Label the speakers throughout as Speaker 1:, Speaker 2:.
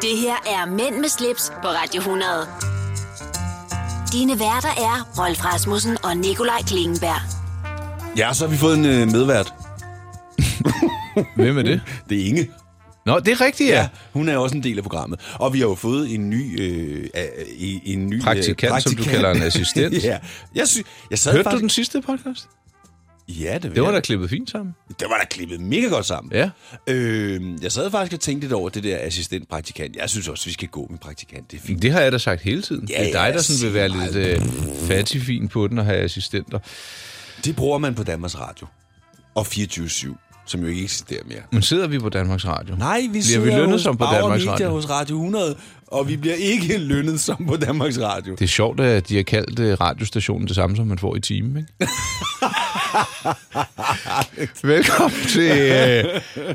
Speaker 1: Det her er Mænd med slips på Radio 100. Dine værter er Rolf Rasmussen og Nikolaj Klingenberg.
Speaker 2: Ja, så har vi fået en øh, medvært.
Speaker 3: Hvem er det?
Speaker 2: Det er Inge.
Speaker 3: Nå, det er rigtigt, ja.
Speaker 2: Hun er også en del af programmet. Og vi har jo fået en ny... Øh, øh, en- en ny øh,
Speaker 3: Praktikant, som du kalder en assistent.
Speaker 2: ja. Jeg, sy- jeg sad
Speaker 3: Hørte du
Speaker 2: faktisk...
Speaker 3: den sidste podcast?
Speaker 2: Ja, det,
Speaker 3: Det var
Speaker 2: jeg.
Speaker 3: da klippet fint sammen.
Speaker 2: Det var da klippet mega godt sammen.
Speaker 3: Ja.
Speaker 2: Øh, jeg sad faktisk og tænkte lidt over det der assistent-praktikant. Jeg synes også, vi skal gå med praktikant. Det er fint.
Speaker 3: Det har jeg da sagt hele tiden.
Speaker 2: Ja,
Speaker 3: Ja, det er
Speaker 2: ja,
Speaker 3: dig, der sådan vil være
Speaker 2: sig
Speaker 3: lidt øh, fattigfin på den og have assistenter.
Speaker 2: Det bruger man på Danmarks Radio. Og 24-7, som jo ikke eksisterer mere.
Speaker 3: Men sidder vi på Danmarks Radio?
Speaker 2: Nej, vi
Speaker 3: Bliver vi
Speaker 2: sidder
Speaker 3: lønnet
Speaker 2: hos
Speaker 3: som på
Speaker 2: Bauer
Speaker 3: Danmarks
Speaker 2: Media
Speaker 3: Radio?
Speaker 2: hos Radio 100, og vi bliver ikke lønnet som på Danmarks Radio.
Speaker 3: Det er sjovt, at de har kaldt øh, radiostationen det samme, som man får i timen, ikke? Velkommen til øh,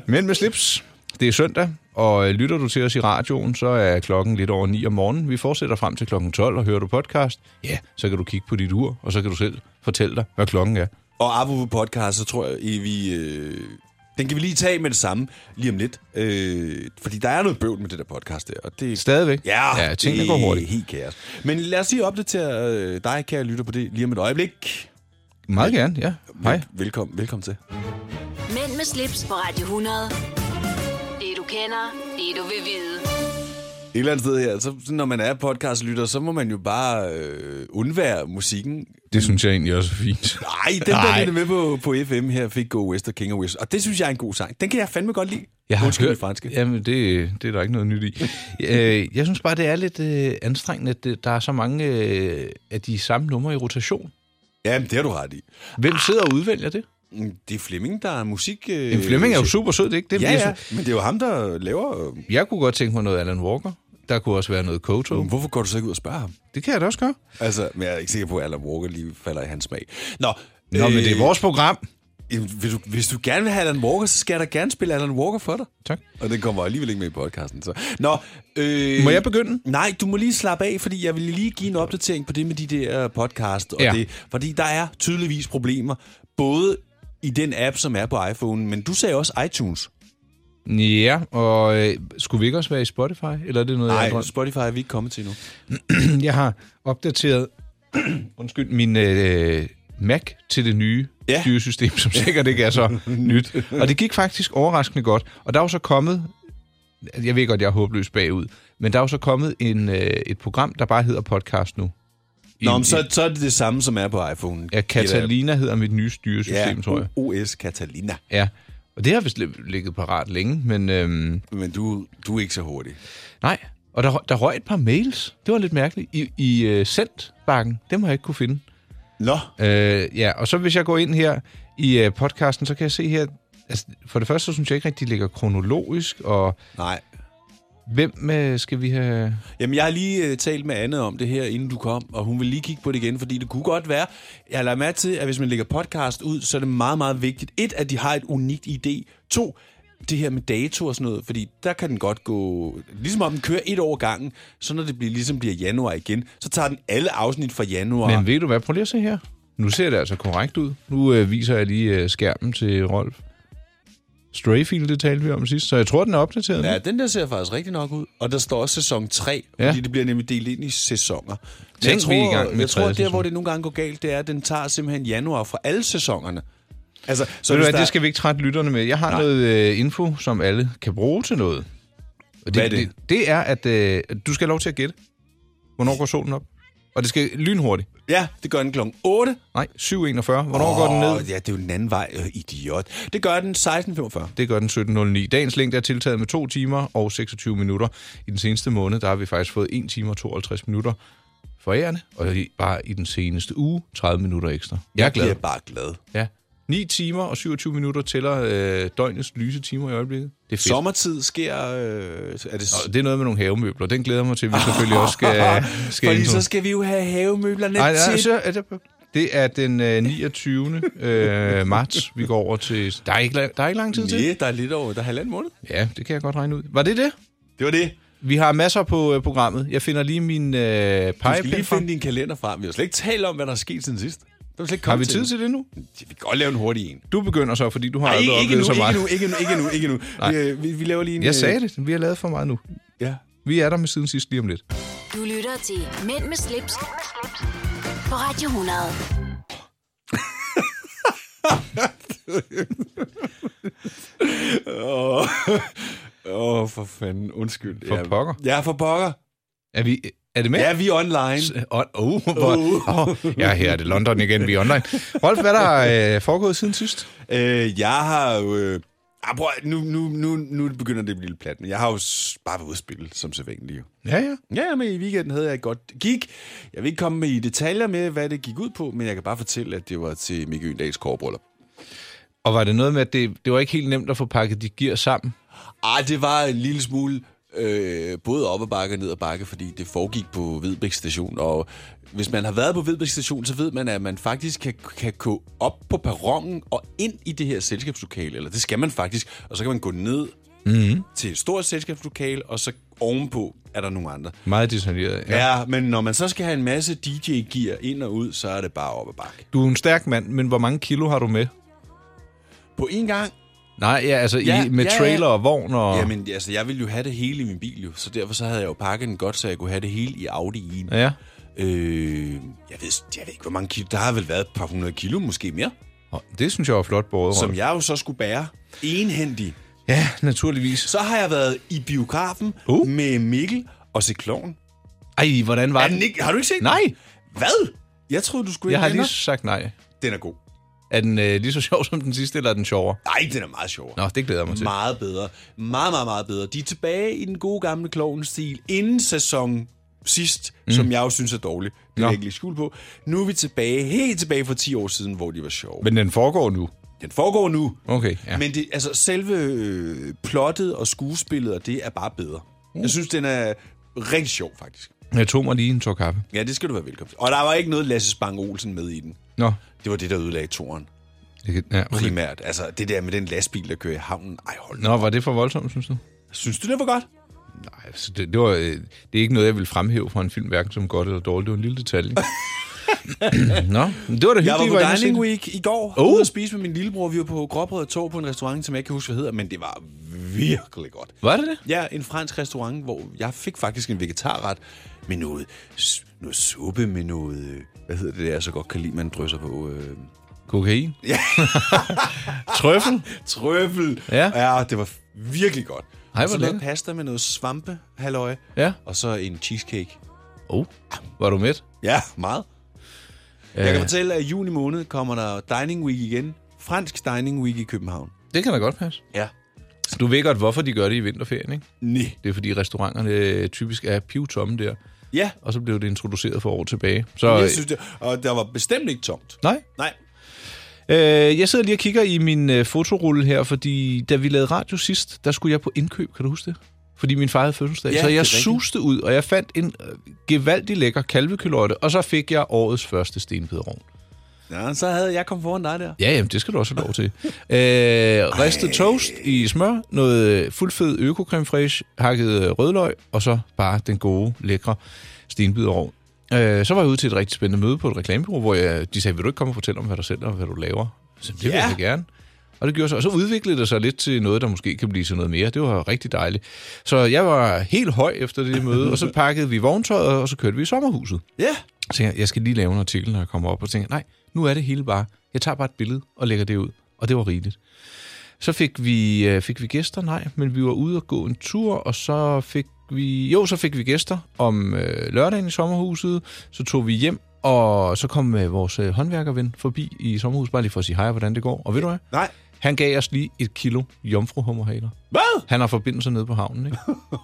Speaker 3: Mænd med slips. Det er søndag, og øh, lytter du til os i radioen, så er klokken lidt over 9 om morgenen. Vi fortsætter frem til klokken 12, og hører du podcast, ja, så kan du kigge på dit ur, og så kan du selv fortælle dig, hvad klokken er.
Speaker 2: Og apropos podcast, så tror jeg, at vi... Øh, den kan vi lige tage med det samme lige om lidt. Øh, fordi der er noget bøvl med det der podcast der. Og det,
Speaker 3: Stadigvæk.
Speaker 2: Ja,
Speaker 3: ja tingene
Speaker 2: det
Speaker 3: går
Speaker 2: er
Speaker 3: hurtigt.
Speaker 2: helt kaos. Men lad os lige opdatere øh, dig, kære lytter, på det lige om et øjeblik.
Speaker 3: Meget gerne, ja. Hej.
Speaker 2: Vel- Velkommen, velkommen til.
Speaker 1: Mænd med slips på Radio 100. Det du kender, det du vil vide.
Speaker 2: Et eller andet sted her, så, så når man er podcastlytter, så må man jo bare øh, undvære musikken.
Speaker 3: Det synes jeg egentlig også er fint.
Speaker 2: Nej, den der
Speaker 3: Nej.
Speaker 2: lidt med på, på FM her, fik Go West og King of West. Og det synes jeg er en god sang. Den kan jeg fandme godt lide.
Speaker 3: Jeg har
Speaker 2: Undskyld
Speaker 3: hørt,
Speaker 2: mit franske.
Speaker 3: Jamen, det, det er der ikke noget nyt i. øh, jeg synes bare, det er lidt øh, anstrengende, at det, der er så mange øh, af de samme numre i rotation.
Speaker 2: Jamen, det har du ret i.
Speaker 3: Hvem sidder og udvælger det?
Speaker 2: Mm, Det er Flemming, der er musik... Øh,
Speaker 3: En Flemming er jo super sød, det er ikke det?
Speaker 2: Ja,
Speaker 3: jeg,
Speaker 2: ja,
Speaker 3: synes-
Speaker 2: men det er jo ham, der laver... øh,
Speaker 3: jeg kunne godt tænke mig noget Alan Walker. Der kunne også være noget Koto. Mm.
Speaker 2: Hvorfor går du så ikke ud og spørger ham?
Speaker 3: Det kan jeg da også gøre.
Speaker 2: Altså, men jeg er ikke sikker på, at Alan Walker lige falder i hans smag. Nå,
Speaker 3: Nå, øh, men det er vores program.
Speaker 2: Jamen, hvis, du, hvis du gerne vil have Alan Walker, så skal jeg da gerne spille Alan Walker for dig.
Speaker 3: Tak.
Speaker 2: Og den kommer alligevel ikke med i podcasten. Så. Nå, øh,
Speaker 3: Må jeg begynde?
Speaker 2: Nej, du må lige slappe af, fordi jeg vil lige give en opdatering på det med de der podcast. Og
Speaker 3: Ja.
Speaker 2: det, fordi der er tydeligvis problemer, både i den app, som er på iPhone, men du sagde også iTunes.
Speaker 3: Ja, og øh, skulle vi ikke også være i Spotify? Eller er det noget, jeg har
Speaker 2: Nej,
Speaker 3: drømt?
Speaker 2: Spotify er vi ikke kommet til nu.
Speaker 3: Jeg har opdateret undskyld, min øh, Mac til det nye
Speaker 2: Ja.
Speaker 3: ja. styresystem, som sikkert ikke er så nyt. Og det gik faktisk overraskende godt. Og der er jo så kommet, jeg ved godt, jeg er håbløs bagud, men der er jo så kommet en, øh, et program, der bare hedder podcast nu. I-
Speaker 2: Nå, men
Speaker 3: i-
Speaker 2: så, så er det det samme, som er på iPhone.
Speaker 3: Ja, Catalina hedder mit nye styresystem,
Speaker 2: Ja,
Speaker 3: tror jeg.
Speaker 2: OS Catalina.
Speaker 3: Ja. Og det har vist lig- ligget parat længe, men øhm,
Speaker 2: Men du, du er ikke så hurtig.
Speaker 3: nej. Og der, rø- der røg et par mails. Det var lidt mærkeligt. I, i øh, sendbakken, dem har jeg ikke kunne finde.
Speaker 2: Nå,
Speaker 3: Øh, ja, og så hvis jeg går ind her i øh, podcasten, så kan jeg se her, altså, for det første, så synes jeg ikke rigtig, de ligger kronologisk, og
Speaker 2: nej.
Speaker 3: hvem øh, skal vi have...
Speaker 2: Jamen, jeg har lige øh, talt med Anne om det her, inden du kom, og hun vil lige kigge på det igen, fordi det kunne godt være, jeg lader mærke til, at hvis man lægger podcast ud, så er det meget, meget vigtigt. Et, at de har et unikt idé. To, det her med dato og sådan noget, fordi der kan den godt gå, ligesom om den kører et år gangen, så når det bliver, ligesom bliver januar igen, så tager den alle afsnit fra januar.
Speaker 3: Men ved du hvad, prøv lige at se her. Nu ser det altså korrekt ud. Nu øh, viser jeg lige øh, skærmen til Rolf. Strayfield, det talte vi om sidst, så jeg tror, den er opdateret.
Speaker 2: Ja,
Speaker 3: Ja,
Speaker 2: den der ser faktisk rigtig nok ud. Og der står også sæson 3, ja.
Speaker 3: Mm-hmm. Ja.
Speaker 2: fordi det bliver nemlig delt ind i sæsoner. Men
Speaker 3: Tænk, vi er i gang med
Speaker 2: jeg tror,
Speaker 3: tredje
Speaker 2: der
Speaker 3: sæson.
Speaker 2: hvor det nogle gange går galt, det er, at den tager simpelthen januar fra alle sæsonerne. Altså, så
Speaker 3: Ved du
Speaker 2: hvis
Speaker 3: hvad,
Speaker 2: der-
Speaker 3: det skal vi ikke trætte lytterne med. Jeg har Nej. noget øh, info, som alle kan bruge til noget. Og
Speaker 2: Hvad er det?
Speaker 3: det? Det er, at øh, du skal have lov til at gætte, hvornår går solen op. Og det skal lynhurtigt.
Speaker 2: Ja, det gør den kl. 8.
Speaker 3: Nej, 7.41. Hvornår oh, går den ned?
Speaker 2: Ja, det er jo den anden vej, øh, idiot. Det gør den 16.45.
Speaker 3: Det gør den 17.09. Dagens længde er tiltaget med 2 timer og 26 minutter. I den seneste måned, der har vi faktisk fået 1 time og 52 minutter forærende, og i, bare i den seneste uge 30 minutter ekstra. Jeg er
Speaker 2: Jeg
Speaker 3: glad.
Speaker 2: er bare glad.
Speaker 3: Ja. 9 timer og 27 minutter tæller øh, døgnets lyse timer i øjeblikket. Det er fedt.
Speaker 2: Sommertid sker... Øh, er det...
Speaker 3: Og det er noget med nogle havemøbler. Den glæder jeg mig til, at vi selvfølgelig også skal, skal
Speaker 2: Fordi
Speaker 3: ind på.
Speaker 2: så skal vi jo have havemøblerne
Speaker 3: Nej, nej,
Speaker 2: til.
Speaker 3: så er det, det er den øh, 29. øh, marts, vi går over til... Der er ikke, la- der er ikke lang tid til.
Speaker 2: Nej, der er lidt over... Der er halvanden måned.
Speaker 3: Ja, det kan jeg godt regne ud. Var det det?
Speaker 2: Det var det.
Speaker 3: Vi har masser på øh, programmet. Jeg finder lige min øh,
Speaker 2: Du skal
Speaker 3: pegepind
Speaker 2: lige
Speaker 3: frem.
Speaker 2: finde din kalender frem. Vi har slet ikke talt om, hvad der er sket siden sidst. Det har vi slet ikke
Speaker 3: Har
Speaker 2: kommet
Speaker 3: vi
Speaker 2: til
Speaker 3: tid
Speaker 2: endnu.
Speaker 3: til det nu?
Speaker 2: Vi kan godt lave en hurtig en.
Speaker 3: Du begynder så, fordi du har
Speaker 2: Nej,
Speaker 3: aldrig
Speaker 2: ikke, ikke,
Speaker 3: oplevet
Speaker 2: nu,
Speaker 3: så meget.
Speaker 2: ikke nu, ikke nu, ikke nu, ikke nu. Vi, øh, vi, vi laver lige en...
Speaker 3: Jeg sagde det. Vi har lavet for meget nu.
Speaker 2: Ja.
Speaker 3: Vi er der med siden sidst lige om lidt.
Speaker 1: Du lytter til Mænd med slips, Mænd med slips. på Radio 100.
Speaker 2: Åh, oh, for fanden. Undskyld.
Speaker 3: For
Speaker 2: Ja.
Speaker 3: pokker.
Speaker 2: Ja, for pokker.
Speaker 3: Er, vi, er det med?
Speaker 2: Ja, vi er online.
Speaker 3: Oh, oh, hvor, oh, jeg er her, det er London igen, vi er online. Rolf, hvad er der øh, foregået siden sidst?
Speaker 2: Øh, jeg har jo... Øh, ah, prøv, at- nu, nu, nu, nu begynder det at blive lidt plat, men jeg har jo s- bare været ude at spille, som sædvanligt jo.
Speaker 3: Ja, ja.
Speaker 2: Ja, men i weekenden havde jeg et godt gig. Jeg vil ikke komme med i detaljer med, hvad det gik ud på, men jeg kan bare fortælle, at det var til Mikke Øndals korbryllup.
Speaker 3: Og var det noget med, at det, det var ikke helt nemt at få pakket de gear sammen?
Speaker 2: Ah, det var en lille smule øh, både op ad bakke og ned ad bakke, fordi det foregik på Vedbæk station, og hvis man har været på Vedbæk station, så ved man, at man faktisk kan, kan gå op på perronen og ind i det her selskabslokale, eller det skal man faktisk, og så kan man gå ned
Speaker 3: Mhm.
Speaker 2: mm-hmm. til et stort selskabslokale, og så ovenpå er der nogle andre.
Speaker 3: Meget detaljeret. Ja.
Speaker 2: Ja, men når man så skal have en masse DJ-gear ind og ud, så er det bare op ad bakke.
Speaker 3: Du er en stærk mand, men hvor mange kilo har du med?
Speaker 2: På en gang,
Speaker 3: Nej, ja, altså
Speaker 2: Ja,
Speaker 3: i, med
Speaker 2: ja, ja.
Speaker 3: trailer og vogn og...
Speaker 2: jamen altså, jeg ville jo have det hele i min bil jo, så derfor så havde jeg jo pakket den godt, så jeg kunne have det hele i Audi'en.
Speaker 3: Ja.
Speaker 2: Øh, jeg, ved, jeg ved ikke, hvor mange kilo. Der har vel været et par hundrede kilo, måske mere,
Speaker 3: Og Det synes jeg var flot båret,
Speaker 2: som
Speaker 3: Rolf.
Speaker 2: jeg jo så skulle bære enhændig.
Speaker 3: Ja, naturligvis.
Speaker 2: Så har jeg været i biografen
Speaker 3: Uh.
Speaker 2: uh. med Mikkel og se kloven.
Speaker 3: Ej, hvordan var
Speaker 2: Er
Speaker 3: den?
Speaker 2: den ikke, har du ikke set den?
Speaker 3: Nej,
Speaker 2: Hvad? Jeg troede, du skulle
Speaker 3: jeg har
Speaker 2: ikke
Speaker 3: lige sagt nej.
Speaker 2: Den er god.
Speaker 3: Er den øh, lige så sjov som den sidste, eller er den sjovere?
Speaker 2: Nej, den er meget sjovere.
Speaker 3: Nå, det glæder jeg mig til.
Speaker 2: Meget bedre. Meget, meget, meget bedre. De er tilbage i den gode gamle klovenstil inden sæson sidst, mm. som jeg jo synes er dårlig. Det vil
Speaker 3: Nå.
Speaker 2: jeg ikke lige skjul på. Nu er vi tilbage, helt tilbage for 10 år siden, hvor de var sjove. Men
Speaker 3: Men den foregår nu.
Speaker 2: den foregår nu.
Speaker 3: Okay, ja.
Speaker 2: Ja. Men det, altså, selve øh, plottet og skuespillet, og det er bare bedre. Mm. Jeg synes, den er rigtig sjov, faktisk.
Speaker 3: Jeg tog mig lige en tår kaffe.
Speaker 2: Ja, det skal du være velkommen til. Og der var ikke noget Lasse Spang Olsen med i den.
Speaker 3: Nå.
Speaker 2: Det var det, der ødelagde toren.
Speaker 3: Jeg kan- Ja, okay.
Speaker 2: Primært. Altså, det der med den lastbil, der kører i havnen. Ej, hold nu.
Speaker 3: Nå, var det for voldsomt, synes du?
Speaker 2: Synes du, det var godt?
Speaker 3: Nej, altså, det, det, var, øh, det er ikke noget, jeg vil fremhæve fra en film, hverken som godt eller dårligt. Det var en lille detalje. Nå, men det var da hyggeligt.
Speaker 2: Jeg var
Speaker 3: I
Speaker 2: på
Speaker 3: inde at se
Speaker 2: Dining
Speaker 3: det.
Speaker 2: Week i går,
Speaker 3: Oh.
Speaker 2: oh. ude at spise med min lillebror. Vi var på Gråbrød og Torv på en restaurant, som jeg ikke kan huske, hvad hedder, men det var virkelig godt.
Speaker 3: Var det det?
Speaker 2: Ja, en fransk restaurant, hvor jeg fik faktisk en vegetarret med noget, s- noget suppe, med noget, øh, hvad hedder det, der, jeg så godt kan lide, man drysser på. Øh,
Speaker 3: Kokain? Ja. Trøffel?
Speaker 2: trøffel.
Speaker 3: Ja.
Speaker 2: ja, det var virkelig godt.
Speaker 3: Ej,
Speaker 2: og så
Speaker 3: hvor
Speaker 2: noget
Speaker 3: lækkert.
Speaker 2: pasta med noget svampe, halløj.
Speaker 3: Ja.
Speaker 2: Og så en cheesecake.
Speaker 3: Oh, var du med?
Speaker 2: Ja, meget. Jeg kan fortælle, at i juni måned kommer der Dining Week igen. Fransk Dining Week i København.
Speaker 3: Det kan da godt passe.
Speaker 2: Ja.
Speaker 3: Du ved godt, hvorfor de gør det i vinterferien, ikke?
Speaker 2: Nej.
Speaker 3: Det er, fordi restauranterne øh, typisk er pivtomme der,
Speaker 2: Ja,
Speaker 3: og så blev det introduceret for år tilbage. Så,
Speaker 2: jeg synes det. Og der var bestemt ikke tomt.
Speaker 3: Nej.
Speaker 2: Nej.
Speaker 3: Øh, jeg sidder lige og kigger i min øh, fotorulle her, fordi da vi lavede radio sidst, der skulle jeg på indkøb, kan du huske det? Fordi min far havde fødselsdag.
Speaker 2: Ja,
Speaker 3: så
Speaker 2: det er
Speaker 3: jeg
Speaker 2: rigtigt.
Speaker 3: suste ud, og jeg fandt en øh, gevaldig lækker kalvekylotte, og så fik jeg årets første stenpederovn.
Speaker 2: Ja, så havde jeg kommet foran dig der.
Speaker 3: Ja, jamen, det skal du også have lov til. øh, ristet toast i smør, noget øh, fuldfed øko-creme fraiche, hakket øh, rødløg, og så bare den gode, lækre stenbiderov. Øh, så var jeg ude til et rigtig spændende møde på et reklamebureau, hvor jeg, de sagde, vil du ikke komme og fortælle om, hvad du sælger og hvad du laver? Så det vil
Speaker 2: Ja.
Speaker 3: jeg da gerne. Og det gjorde så, og så udviklede det sig lidt til noget, der måske kan blive til noget mere. Det var rigtig dejligt. Så jeg var helt høj efter det møde, og så pakkede vi vogntøjet, og så kørte vi i sommerhuset
Speaker 2: Ja.
Speaker 3: tænker, jeg, jeg skal lige lave en artikel, når jeg kommer op, og tænker, nej, nu er det hele bare, jeg tager bare et billede og lægger det ud, og det var rigeligt. Så fik vi, øh, fik vi gæster, nej, men vi var ude og gå en tur, og så fik vi, jo, så fik vi gæster om øh, lørdagen i sommerhuset, så tog vi hjem, og så kom øh, vores øh, håndværkerven forbi i sommerhuset, bare lige for at sige hej, hvordan det går, og ved du hvad?
Speaker 2: Nej.
Speaker 3: Han gav os lige et kilo jomfruhummerhaler.
Speaker 2: Hvad?
Speaker 3: Han har forbindelser nede på havnen, ikke?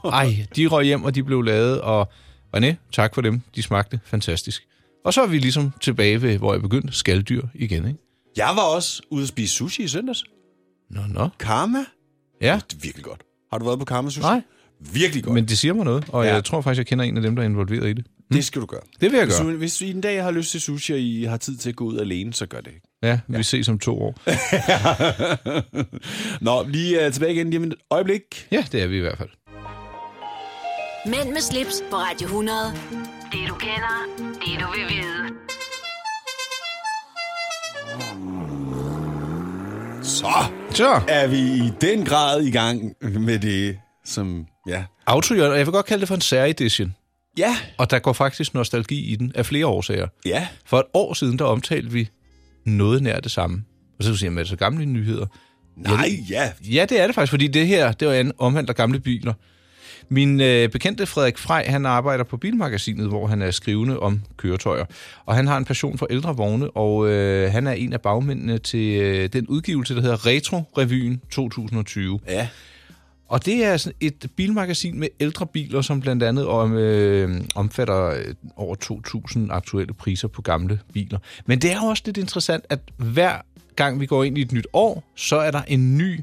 Speaker 3: Ej, de røg hjem, og de blev lavet, og René, tak for dem. De smagte fantastisk. Og så er vi ligesom tilbage ved, hvor jeg begyndte, skalddyr igen, ikke?
Speaker 2: Jeg var også ude at spise sushi i søndags.
Speaker 3: Nå, nå.
Speaker 2: Karma.
Speaker 3: Ja,
Speaker 2: Det er virkelig godt. Har du været på Karma Sushi?
Speaker 3: nej,
Speaker 2: Virkelig godt.
Speaker 3: men det siger mig noget, og
Speaker 2: Ja.
Speaker 3: jeg tror faktisk, jeg kender en af dem, der er involveret i det.
Speaker 2: det skal du gøre.
Speaker 3: Det vil jeg
Speaker 2: Hvis,
Speaker 3: gøre.
Speaker 2: du, hvis I en dag har lyst til sushi, og I har tid til at gå ud alene, så gør det ikke.
Speaker 3: Ja, vi ses om to år.
Speaker 2: Nå, lige uh, tilbage igen lige om et øjeblik.
Speaker 3: Ja, det er vi i hvert fald.
Speaker 1: Mænd med slips på Radio 100. Det du kender, det du vil vide.
Speaker 2: Så
Speaker 3: Så,
Speaker 2: er vi i den grad i gang med det, som... Ja.
Speaker 3: Autojørn, og jeg vil godt kalde det for en særedition.
Speaker 2: Ja.
Speaker 3: Og der går faktisk nostalgi i den af flere årsager.
Speaker 2: Ja.
Speaker 3: For et år siden, der omtalte vi noget nær det samme. Og så kan du sige, "Jamen, er det så gamle nyheder?
Speaker 2: Nej, ja.
Speaker 3: Ja, det er det faktisk, fordi det her, det var en omhandler gamle biler. Min øh, bekendte Frederik Frej, han arbejder på Bilmagasinet, hvor han er skrivende om køretøjer. Og han har en passion for ældre vogne, og øh, han er en af bagmændene til øh, den udgivelse, der hedder Retro-revyen 2020.
Speaker 2: Ja.
Speaker 3: Og det er sådan et bilmagasin med ældre biler, som blandt andet om, øh, omfatter øh, over 2.000 aktuelle priser på gamle biler. Men det er jo også lidt interessant, at hver gang vi går ind i et nyt år, så er der en ny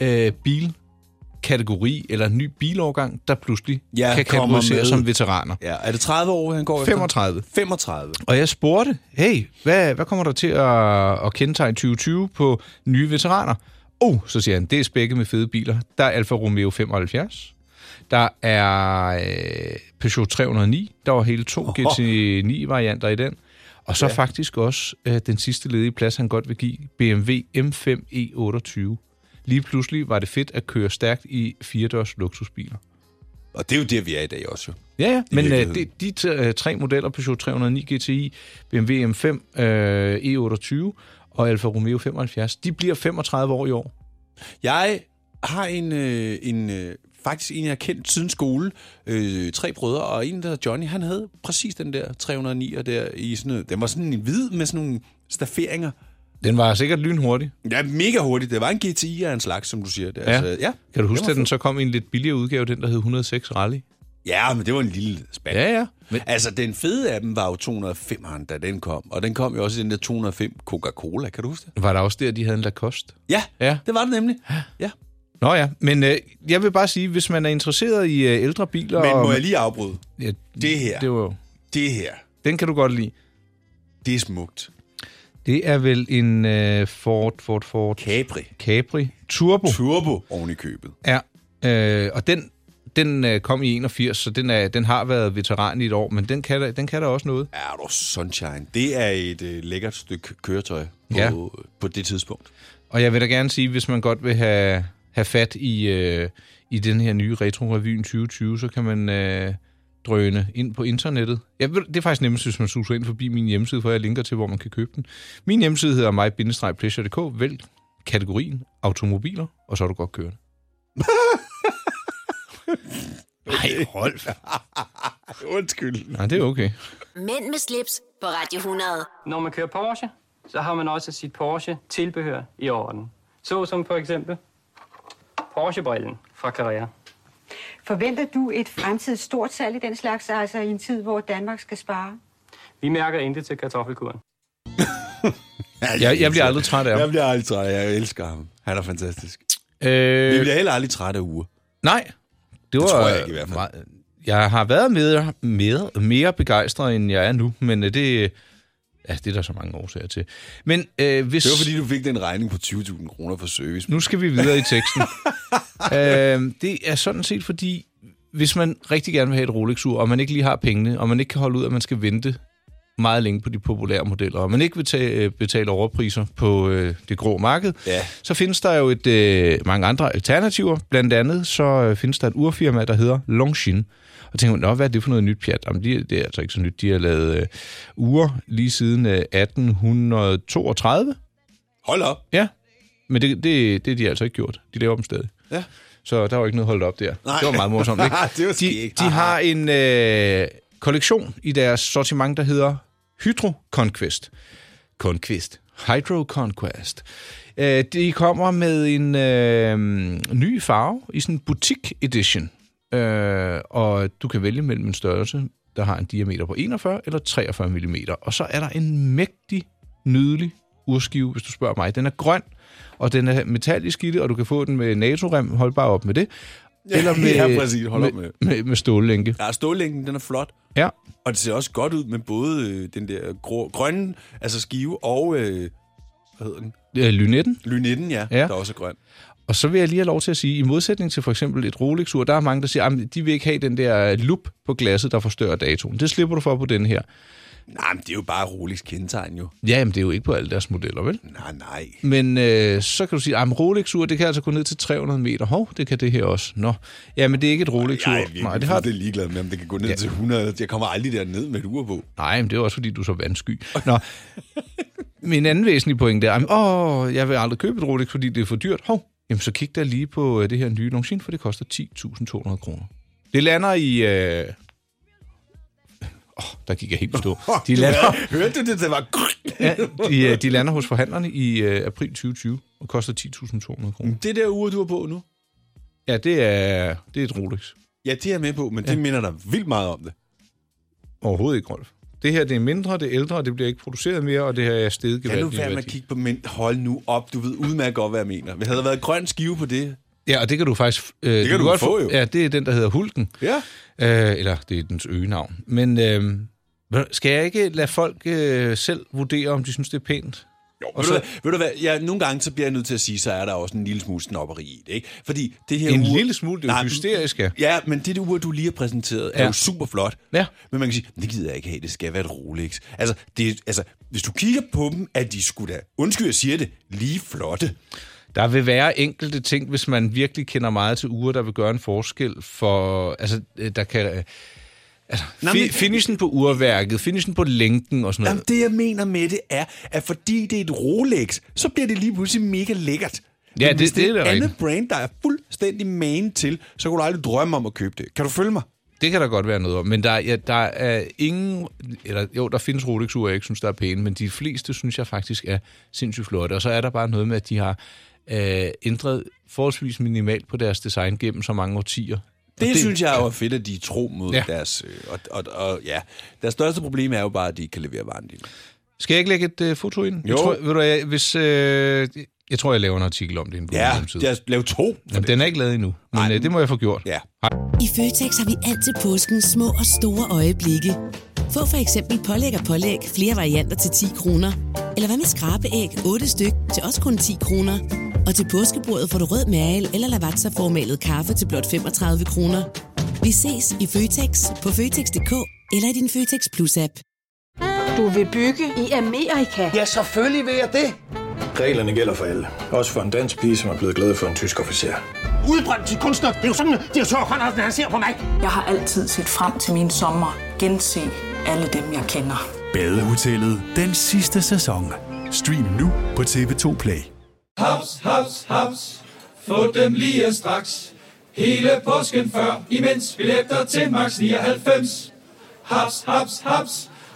Speaker 3: øh, bilkategori eller en ny bilårgang, der pludselig
Speaker 2: Ja,
Speaker 3: ja, kan
Speaker 2: kommer med.
Speaker 3: kategoriseres som veteraner.
Speaker 2: Ja, er det 30 år, han går
Speaker 3: 35.
Speaker 2: efter? 35.
Speaker 3: Og jeg spurgte, hey, hvad, hvad kommer der til at, at kendetegne 2020 på nye veteraner? Oh, så siger han, det er spækket med fede biler. Der er Alfa Romeo 75. Der er øh, Peugeot 309. Der var hele to GT9-varianter i den. Og så ja. faktisk også øh, den sidste ledige plads, han godt vil give, BMW M5 E28. E Lige pludselig var det fedt at køre stærkt i firedørs luksusbiler.
Speaker 2: Og det er jo der, vi er i dag også jo.
Speaker 3: Ja, ja, men øh, de,
Speaker 2: virkeligheden.
Speaker 3: de t- øh, tre modeller, Peugeot 309 GTI, BMW M5, øh, E28 og Alfa Romeo 75, de bliver 35 år i år.
Speaker 2: Jeg har en, øh, en øh, faktisk en, jeg har kendt siden skole. Øh, tre brødre, og en, der hedder Johnny, han havde præcis den der 309 og der i sådan noget. Den var sådan en hvid med sådan nogle stafferinger.
Speaker 3: Den var sikkert lynhurtig.
Speaker 2: Ja, mega hurtigt. Det var en GTI af en slags, som du siger. Det, altså-
Speaker 3: Ja.
Speaker 2: ja.
Speaker 3: Kan du huske,
Speaker 2: var
Speaker 3: at den så kom i en lidt billigere udgave, den der hed 106 Rally?
Speaker 2: Ja, men det var en lille spand.
Speaker 3: Ja, ja. Men,
Speaker 2: Altså, den fede af dem var jo 205'eren, da den kom. Og den kom jo også i den der 205 Coca-Cola, kan du huske det?
Speaker 3: var der også der, de havde en Lacoste?
Speaker 2: Ja,
Speaker 3: Ja.
Speaker 2: det var det nemlig. Ja.
Speaker 3: Nå ja, men øh, jeg vil bare sige, hvis man er interesseret i øh, ældre biler...
Speaker 2: Men
Speaker 3: og,
Speaker 2: må jeg lige afbryde?
Speaker 3: ja,
Speaker 2: Det her.
Speaker 3: Det var, jo-
Speaker 2: Det her,
Speaker 3: den kan du godt lide.
Speaker 2: det er smukt.
Speaker 3: Det er vel en øh, Ford, Ford, Ford
Speaker 2: Capri.
Speaker 3: Capri Turbo.
Speaker 2: Turbo oven i købet.
Speaker 3: Ja, øh, og den, den øh, kom i 81, så den, er, den har været veteran i et år, men den kan, da- den kan da også noget.
Speaker 2: Er du sunshine? Det er et øh, lækkert stykke køretøj på,
Speaker 3: Ja.
Speaker 2: på det tidspunkt.
Speaker 3: Og jeg vil da gerne sige, hvis man godt vil have, have fat i, øh, i den her nye Retro-revyen 2020, så kan man øh, drøne ind på internettet. Jeg ved, det er faktisk nemmest, hvis man suser ind forbi min hjemmeside, for jeg linker til, hvor man kan købe den. Min hjemmeside hedder mig-pleasure.dk. Vælg kategorien automobiler, og så er du godt kørende. Nej, hold
Speaker 2: Undskyld.
Speaker 3: Nej, det er okay.
Speaker 1: Mænd med slips på Radio 100.
Speaker 4: Når man kører Porsche, så har man også sit Porsche-tilbehør i orden. Så som for eksempel Porsche-brillen fra Carrera.
Speaker 5: Forventer du et fremtidigt stort salg i den slags, altså i en tid, hvor Danmark skal spare?
Speaker 4: Vi mærker intet til kartoffelkuren.
Speaker 3: Jeg, jeg bliver aldrig træt af
Speaker 2: Jeg
Speaker 3: ham.
Speaker 2: bliver aldrig træt. Jeg elsker ham. Han er fantastisk. Vi
Speaker 3: Øh,
Speaker 2: bliver heller aldrig træt af uger.
Speaker 3: nej, det var...
Speaker 2: tror jeg ikke i hvert fald.
Speaker 3: Meget, jeg har været mere, mere, mere begejstret, end jeg er nu, men øh, det... øh, Ja, det er der så mange årsager til. Men øh, hvis...
Speaker 2: Det var fordi, du fik den regning på 20.000 kroner for service.
Speaker 3: Nu skal vi videre i teksten. øh, det er sådan set fordi, hvis man rigtig gerne vil have et Rolex-ur, og man ikke lige har pengene, og man ikke kan holde ud, at man skal vente meget længe på de populære modeller, og man ikke vil tage, øh, betale overpriser på øh, det grå marked,
Speaker 2: Ja.
Speaker 3: så findes der jo et, øh, mange andre alternativer. Blandt andet så øh, findes der et urfirma, der hedder Longshin. Og tænker man, Nå, hvad er det for noget nyt pjat? Jamen, de, det er altså ikke så nyt. De har lavet øh, ure lige siden øh, 1832.
Speaker 2: Hold op.
Speaker 3: Ja, men det, det, det er de altså ikke gjort. De laver dem stadig.
Speaker 2: Ja.
Speaker 3: Så der var ikke noget holdt op der.
Speaker 2: Nej.
Speaker 3: Det var meget morsomt, ikke?
Speaker 2: Det var Ah,
Speaker 3: de,
Speaker 2: skægt.
Speaker 3: de har en øh, kollektion i deres sortiment, der hedder Hydro Conquest. Conquest. Hydro Conquest. Øh, de kommer med en øh, ny farve i sådan en butik edition. Øh, og du kan vælge mellem en størrelse, der har en diameter på 41 eller 43 mm. Og så er der en mægtig, nydelig urskive, hvis du spørger mig. Den er grøn, og den er metallisk i det, og du kan få den med NATO-rem. Hold bare op med det. Eller med,
Speaker 2: ja, præcis. Hold
Speaker 3: med,
Speaker 2: op med det.
Speaker 3: med, med stålænke.
Speaker 2: Der er stållængden, den er flot.
Speaker 3: Ja.
Speaker 2: Og det ser også godt ud med både øh, den der grå, grønne, altså skive, og øh, hvad hedder den?
Speaker 3: Øh, Lynetten.
Speaker 2: Lynetten, ja, ja,
Speaker 3: Ja.
Speaker 2: der også er grøn.
Speaker 3: Og så vil jeg lige have lov til at sige, i modsætning til for eksempel et Rolex-ur, der er øh, mange, der siger, at de vil ikke have den der lup på glasset, der forstørrer datoen. Det slipper du for på den her.
Speaker 2: Nej, men det er jo bare Rolex kendetegn jo.
Speaker 3: Ja, men det er jo ikke på alle deres modeller, vel?
Speaker 2: Nej, nej.
Speaker 3: Men øh, så kan du sige, at Rolex-ur, det kan altså gå ned til 300 meter. Hov, det kan det her også. Nå, ja, men det er ikke et Rolex-ur.
Speaker 2: Jeg er virkelig
Speaker 3: Nej, det har
Speaker 2: det ligeglad med, om det kan gå ned ja. til 100. Jeg kommer aldrig derned med et ur på.
Speaker 3: Nej, men det er også, fordi du er så vandsky. Nå. Min anden væsentlige pointe er, at åh, jeg vil aldrig købe et Rolex, fordi det er for dyrt. Hov, jamen så kig der lige på øh, det her nye Longines, for det koster 10.200 kroner. Det lander i... Øh... Oh, der gik jeg helt på stå. De lander,
Speaker 2: Hørte du det? Det var...
Speaker 3: ja, de, øh, de lander hos forhandlerne i øh, april 2020 og koster 10.200 kroner.
Speaker 2: Det der ur, du har på nu.
Speaker 3: Ja, det er, det er et Rolex.
Speaker 2: Ja, det er jeg med på, men ja. det minder dig vildt meget om det.
Speaker 3: Overhovedet ikke, Rolf. Det her, det er mindre, det er ældre, det bliver ikke produceret mere, og det her er steget
Speaker 2: Kan du
Speaker 3: gevaldigt i
Speaker 2: være med at
Speaker 3: værdi.
Speaker 2: kigge på min... Hold nu op, du ved udmærket godt, hvad jeg mener. Hvis havde der været grøn skive på det...
Speaker 3: Ja, og det kan du faktisk... Øh, det
Speaker 2: kan du
Speaker 3: godt
Speaker 2: få, jo.
Speaker 3: Ja, det er den, der hedder Hulken.
Speaker 2: Ja.
Speaker 3: Øh, eller det er dens øgenavn. Men øh, skal jeg ikke lade folk øh, selv vurdere, om de synes, det er pænt?
Speaker 2: Jo, ved,
Speaker 3: Og så-
Speaker 2: så... du hvad, ved du hvad, ja, nogle gange så bliver jeg nødt til at sige, så er der også en lille smule snopperi i det, ikke? Fordi det her
Speaker 3: En
Speaker 2: ur...
Speaker 3: lille smule, det er jo hysterisk, ja.
Speaker 2: Ja, men det der ur, du lige har præsenteret, ja. er
Speaker 3: Ja.
Speaker 2: jo super flot.
Speaker 3: Ja.
Speaker 2: Men man kan sige, det gider jeg ikke have, det skal være et Rolex. Altså, det, altså hvis du kigger på dem, at de skulle da, undskyld, jeg siger det, lige flotte.
Speaker 3: Der vil være enkelte ting, hvis man virkelig kender meget til uger, der vil gøre en forskel for... Altså, øh, der kan... øh, Altså,
Speaker 2: Nå,
Speaker 3: fi-
Speaker 2: men-
Speaker 3: finishen på urværket, finishen på lænken og sådan noget.
Speaker 2: Jamen, det jeg mener med det er, at fordi det er et Rolex, så bliver det lige pludselig mega lækkert.
Speaker 3: Ja, det-
Speaker 2: hvis
Speaker 3: det
Speaker 2: er
Speaker 3: er da
Speaker 2: et andet
Speaker 3: rigtigt.
Speaker 2: brand, der er fuldstændig main til, så kunne du aldrig drømme om at købe det. Kan du følge mig?
Speaker 3: Det kan der godt være noget om, men der, er- ja, der er ingen... Eller, jo, der findes rolex jeg ikke synes, der er pæne, men de fleste synes jeg faktisk er sindssygt flotte. Og så er der bare noget med, at de har øh, ændret forholdsvis minimalt på deres design gennem så mange årtier.
Speaker 2: Det,
Speaker 3: Og
Speaker 2: det synes jeg jo er fedt, at de er tro mod ja.
Speaker 3: Ja.
Speaker 2: deres... øh, Og, og, og, ja. Deres største problem er jo bare, at de ikke kan levere varen din.
Speaker 3: Skal jeg ikke lægge et øh, foto ind?
Speaker 2: Jo.
Speaker 3: Jeg tror, ved du, jeg, hvis, øh, jeg tror, jeg laver en artikel om det inde på min
Speaker 2: Ja,
Speaker 3: hjemmeside.
Speaker 2: deres, lav to.
Speaker 3: Jamen, den er ikke lavet endnu, men øh, det må jeg få gjort.
Speaker 2: Ja.
Speaker 6: I Føtex har vi altid påsken små og store øjeblikke. Få for eksempel pålæg og pålæg flere varianter til 10 kroner. Eller hvad med skrabeæg 8 styk til også kun 10 kroner. Og til påskebordet får du rød mal eller lavatserformalet kaffe til blot 35 kroner. Vi ses i Føtex på Føtex.dk eller i din Føtex Plus-app.
Speaker 5: Du vil bygge i Amerika?
Speaker 7: Ja, selvfølgelig vil jeg det.
Speaker 8: Reglerne gælder for alle. Også for en dansk pige, som er blevet glad for en tysk officer.
Speaker 7: Udbrøndt til kunstner. Det er jo sådan, at de har Conradsen, han ser på mig.
Speaker 9: Jeg har altid set frem til min sommer, gense alle dem, jeg kender.
Speaker 8: Badehotellet. Den sidste sæson. Stream nu på TV2 Play.
Speaker 10: Haps, haps, haps. Få dem lige straks. Hele påsken før, imens billetter til max 99. Haps, haps, haps.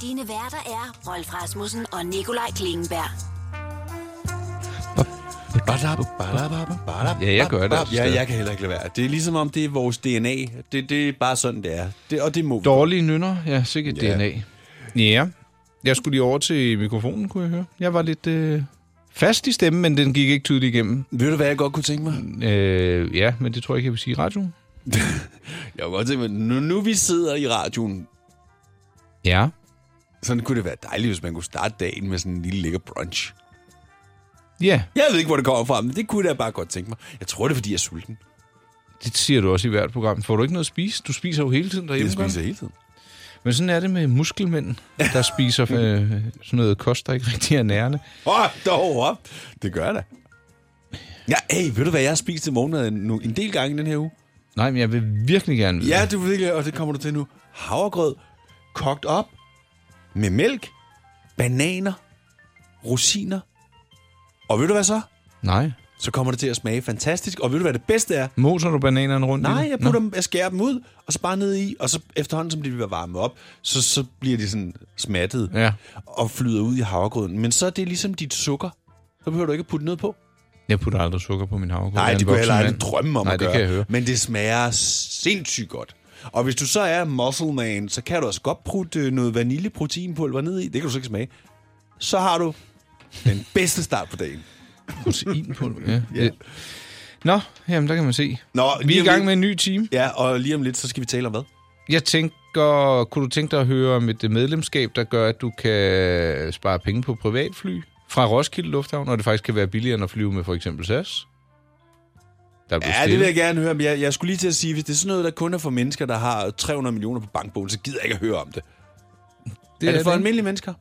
Speaker 1: Dine værter er Rolf Rasmussen og Nikolaj Klingenberg.
Speaker 3: Ja, jeg gør det altså
Speaker 2: Ja,
Speaker 3: stadig.
Speaker 2: jeg kan heller ikke lade være. Det er ligesom om, det er vores DNA. Det, det er bare sådan, det er. Det, og det må vi.
Speaker 3: Dårlige nynner, ja, sikkert
Speaker 2: Ja.
Speaker 3: yeah. DNA. Ja, jeg skulle lige over til mikrofonen, kunne jeg høre. Jeg var lidt øh, fast i stemmen, men den gik ikke tydeligt igennem.
Speaker 2: Ved du, hvad jeg godt kunne tænke mig?
Speaker 3: Øh, ja, men det tror jeg ikke, jeg vil sige i radioen.
Speaker 2: Jeg kunne godt tænke mig, nu, nu vi sidder i radioen,
Speaker 3: Ja.
Speaker 2: sådan kunne det være dejligt, hvis man kunne starte dagen med sådan en lille lækker brunch.
Speaker 3: Ja,
Speaker 2: Jeg ved ikke, hvor det kommer fra, men det kunne jeg bare godt tænke mig. Jeg tror, det er, fordi jeg er sulten.
Speaker 3: det siger du også i hvert program. Får du ikke noget at spise? Du spiser jo hele tiden derhjemme.
Speaker 2: Jeg
Speaker 3: gør du?
Speaker 2: spiser hele tiden.
Speaker 3: Men sådan er det med muskelmænd, der spiser øh, sådan noget kost, der ikke rigtig er nærende.
Speaker 2: Åh, Ah, dog op. Det gør jeg da. Ja, hey, ved du, hvad jeg har spist til morgenmad en, nu- en del gange i den her uge?
Speaker 3: Nej, men jeg vil virkelig gerne vide
Speaker 2: Ja,
Speaker 3: det.
Speaker 2: du ved ikke, og det kommer du til nu. Havregrød, kogt op, med mælk, bananer, rosiner. Og ved du hvad så?
Speaker 3: Nej.
Speaker 2: Så kommer det til at smage fantastisk. Og ved du, hvad det bedste er?
Speaker 3: Moser du bananerne rundt i
Speaker 2: Nej,
Speaker 3: det?
Speaker 2: jeg,
Speaker 3: Nå.
Speaker 2: putter dem, jeg skærer dem ud, og så bare ned i, og så efterhånden, som de bliver varmet op, så, så bliver de sådan smattet
Speaker 3: Ja.
Speaker 2: og flyder ud i havregrøden. Men så er det ligesom dit sukker. Så behøver du ikke at putte noget på.
Speaker 3: Jeg putter aldrig sukker på min havregrød. Jeg
Speaker 2: Nej,
Speaker 3: er en
Speaker 2: det kunne jeg heller
Speaker 3: voksen
Speaker 2: aldrig
Speaker 3: mand.
Speaker 2: drømme om
Speaker 3: Nej,
Speaker 2: at
Speaker 3: det
Speaker 2: gøre.
Speaker 3: kan jeg høre.
Speaker 2: Men det smager sindssygt godt. Og hvis du så er muscle man, så kan du altså godt prutte øh, noget vaniljeproteinpulver ned i. Det kan du så ikke smage. Så har du den bedste start på dagen.
Speaker 3: Proteinpulver, ja. ja. Nå, jamen der kan man se.
Speaker 2: Nå,
Speaker 3: Vi
Speaker 2: lige
Speaker 3: er i
Speaker 2: om
Speaker 3: gang
Speaker 2: lidt-
Speaker 3: med en ny time.
Speaker 2: Ja, og lige om lidt, så skal vi tale om hvad?
Speaker 3: Jeg tænker, kunne du tænke dig at høre om et øh, medlemskab, der gør, at du kan øh, spare penge på privatfly fra Roskilde Lufthavn, og det faktisk kan være billigere end at flyve med for eksempel SAS? Der blev
Speaker 2: Ja,
Speaker 3: stille.
Speaker 2: det vil jeg gerne høre om. Jeg, jeg skulle lige til at sige, hvis det er sådan noget, der kun er for mennesker, der har 300 millioner på bankbogen, så gider jeg ikke at høre om det. Det er det for almindelige mennesker?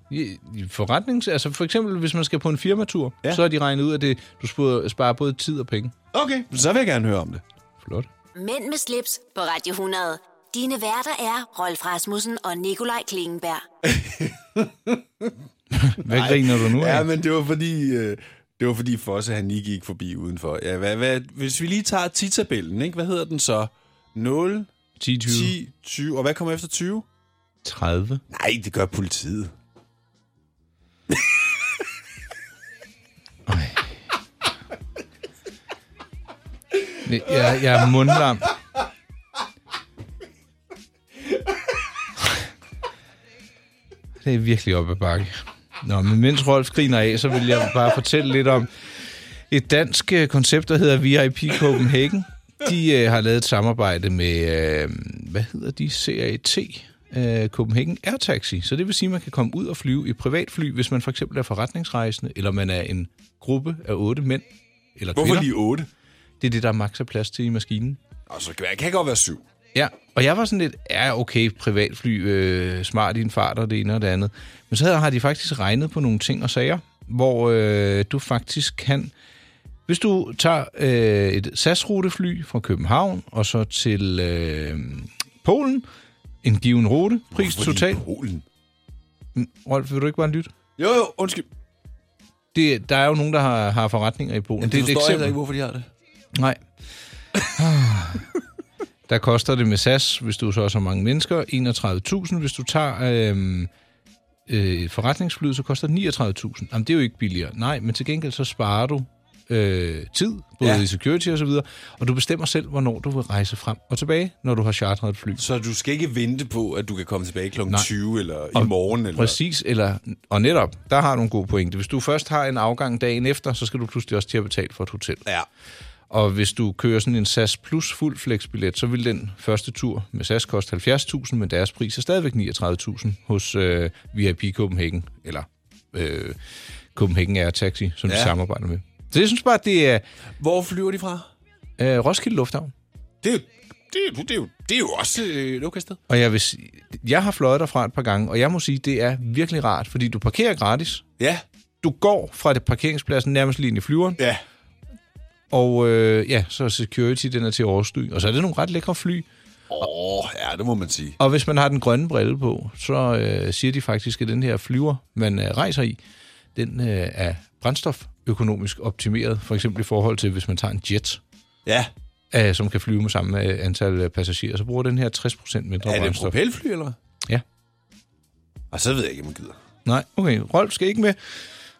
Speaker 3: Forretnings... Altså for eksempel, hvis man skal på en firmatur,
Speaker 2: Ja.
Speaker 3: ja. så har de regnet ud, at det, du spurgte- øh, sparer både tid og penge.
Speaker 2: Okay, så vil jeg gerne høre om det.
Speaker 3: Flot.
Speaker 1: Mænd med slips på Radio 100. Dine værter er Rolf Rasmussen og Nikolaj Klingenberg.
Speaker 3: Hvad griner du nu af?
Speaker 2: Ja, men det var fordi... Øh, det var fordi Fosse, han lige gik forbi udenfor. Ja, hvad, hvad, hvis vi lige tager titabellen, ikke? Hvad hedder den så? 0,
Speaker 3: 10, 20,
Speaker 2: 10, 20. Og hvad kommer efter 20?
Speaker 3: 30.
Speaker 2: Nej, det gør politiet.
Speaker 3: Nej, Jeg, jeg er mundlam. Det er virkelig op ad bakke. Nå, men mens Rolf griner af, så vil jeg bare fortælle lidt om et dansk øh, koncept, der hedder VIP Copenhagen. De øh, har lavet et samarbejde med, øh, hvad hedder de, CAT, øh, Copenhagen Air Taxi. Så det vil sige, at man kan komme ud og flyve i privatfly, hvis man for eksempel er forretningsrejsende, eller man er en gruppe af otte mænd eller
Speaker 2: Hvorfor
Speaker 3: kvinder.
Speaker 2: lige 8?
Speaker 3: Det er det, der maks er plads til i maskinen.
Speaker 2: Og så kan jeg kan godt være 7.
Speaker 3: Ja, og jeg var sådan lidt, ja okay, privatfly, øh, smart i en fart og det ene og det andet. Men så havde- har de faktisk regnet på nogle ting og sager, hvor øh, du faktisk kan... Hvis du tager øh, et SAS-rutefly fra København og så til øh, Polen, en given rute, pris
Speaker 2: Hvorfor lige
Speaker 3: total...
Speaker 2: Polen?
Speaker 3: Rolf, vil du ikke bare lytte?
Speaker 2: Jo, jo, undskyld.
Speaker 3: Det, der er jo nogen, der har, har forretninger i Polen.
Speaker 2: Jamen, det, det forstår jeg heller ikke, hvorfor de har det.
Speaker 3: Nej. Der koster det med SAS, hvis du så er så mange mennesker, 31.000. Hvis du tager øhm, øh, forretningsflyet, så koster det 39.000. Jamen, det er jo ikke billigere. Nej, men til gengæld så sparer du øh, tid, både
Speaker 2: Ja.
Speaker 3: ja. i security og så videre, og du bestemmer selv, hvornår du vil rejse frem og tilbage, når du har chartret et fly.
Speaker 2: Så du skal ikke vente på, at du kan komme tilbage kl. 20 eller i
Speaker 3: Og
Speaker 2: morgen? Eller...
Speaker 3: Præcis, eller, og netop, der har du en god pointe. Hvis du først har en afgang dagen efter, så skal du pludselig også til at betale for et hotel.
Speaker 2: Ja.
Speaker 3: Og hvis du kører sådan en SAS Plus fuld flexbillet, så vil den første tur med SAS koste 70.000, men deres pris er stadigvæk 39.000 hos øh, VIP Copenhagen, eller øh, Copenhagen Air Taxi, som ja.
Speaker 2: Ja.
Speaker 3: de samarbejder med. Så jeg synes bare, det er
Speaker 2: Hvor flyver de fra?
Speaker 3: øh, Roskilde Lufthavn.
Speaker 2: Det er, jo- det, er, jo- det, er, jo- det er jo også øh, et okay sted.
Speaker 3: Og jeg, vil sige, jeg har fløjet derfra et par gange, og jeg må sige, det er virkelig rart, fordi du parkerer gratis.
Speaker 2: Ja.
Speaker 3: Du går fra det parkeringspladsen nærmest lige ind i flyveren,
Speaker 2: Ja.
Speaker 3: og øh, ja, så er security, den er til at overstyre. Og så er det nogle ret lækre fly.
Speaker 2: Åh, ja, det må man sige.
Speaker 3: Og hvis man har den grønne brille på, så øh, siger de faktisk, at den her flyver, man øh, rejser i, den øh, er brændstoføkonomisk optimeret, for eksempel i forhold til, hvis man tager en jet,
Speaker 2: Ja.
Speaker 3: øh, som kan flyve med samme øh, antal øh, passagerer, så bruger den her 60% mindre
Speaker 2: Er det et
Speaker 3: brændstof.
Speaker 2: propelfly, eller hvad?
Speaker 3: Ja.
Speaker 2: Og så ved jeg ikke, om man gider.
Speaker 3: Nej, okay. Rolf skal ikke med.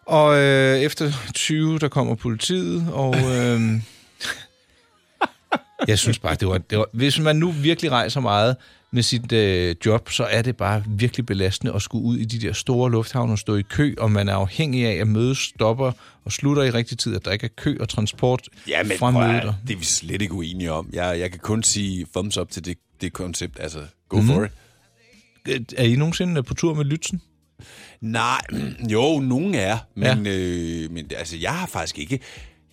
Speaker 3: Og øh, efter 20, der kommer politiet, og... Øh, jeg synes bare, det var, det var... Hvis man nu virkelig rejser meget med sit øh, job, så er det bare virkelig belastende at skulle ud i de der store lufthavne og stå i kø, og man er afhængig af, at mødet stopper og slutter i rigtig tid, at der ikke er kø og transport
Speaker 2: Ja, men
Speaker 3: fra
Speaker 2: prøv,
Speaker 3: mødet.
Speaker 2: at- det er vi slet ikke uenige om. Jeg, jeg kan kun sige thumbs up til det, det koncept. Altså, go mm.
Speaker 3: Mhm.
Speaker 2: for it.
Speaker 3: Øh, Er I nogensinde på tur med Lytzen?
Speaker 2: Nej, jo, nogen er, men, ja. øh, men altså, jeg har faktisk ikke...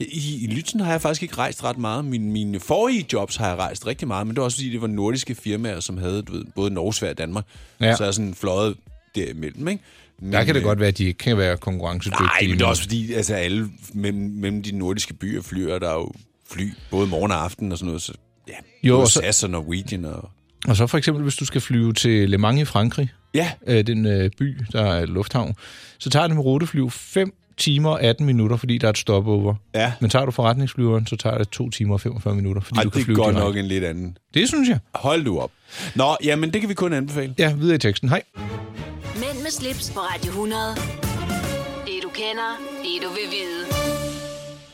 Speaker 2: I, I Lytzen har jeg faktisk ikke rejst ret meget. Min, mine forrige jobs har jeg rejst rigtig meget, men det var også fordi, det var nordiske firmaer, som havde du ved, både Norge, Sverige og Danmark. Ja.
Speaker 3: Ja.
Speaker 2: øh, Så jeg sådan fløjet derimellem, ikke? Men,
Speaker 3: Der kan det
Speaker 2: øh,
Speaker 3: godt være, at de ikke kan være konkurrencedygtige.
Speaker 2: Nej, men det er
Speaker 3: men-
Speaker 2: også fordi, altså alle mellem, mellem de nordiske byer flyver, der er jo fly både morgen og aften og sådan noget, så ja,
Speaker 3: Jo,
Speaker 2: både
Speaker 3: og så-
Speaker 2: SAS og Norwegian og...
Speaker 3: Og så for eksempel, hvis du skal flyve til Le Mans i Frankrig,
Speaker 2: Ja.
Speaker 3: øh, den øh, by, der er lufthavn, så tager det med ruteflyv 5 timer og 18 minutter, fordi der er et stopover.
Speaker 2: Ja.
Speaker 3: Men tager du forretningsflyveren, så tager det 2 timer og 45 minutter, fordi
Speaker 2: Ej,
Speaker 3: du kan
Speaker 2: det er
Speaker 3: flyve
Speaker 2: godt
Speaker 3: direkte.
Speaker 2: nok en lidt anden.
Speaker 3: Det synes jeg.
Speaker 2: Hold du op. Nå, jamen det kan vi kun anbefale.
Speaker 3: Ja, videre i teksten. Hej.
Speaker 1: Mænd med slips på Radio 100. Det du kender, det du vil vide.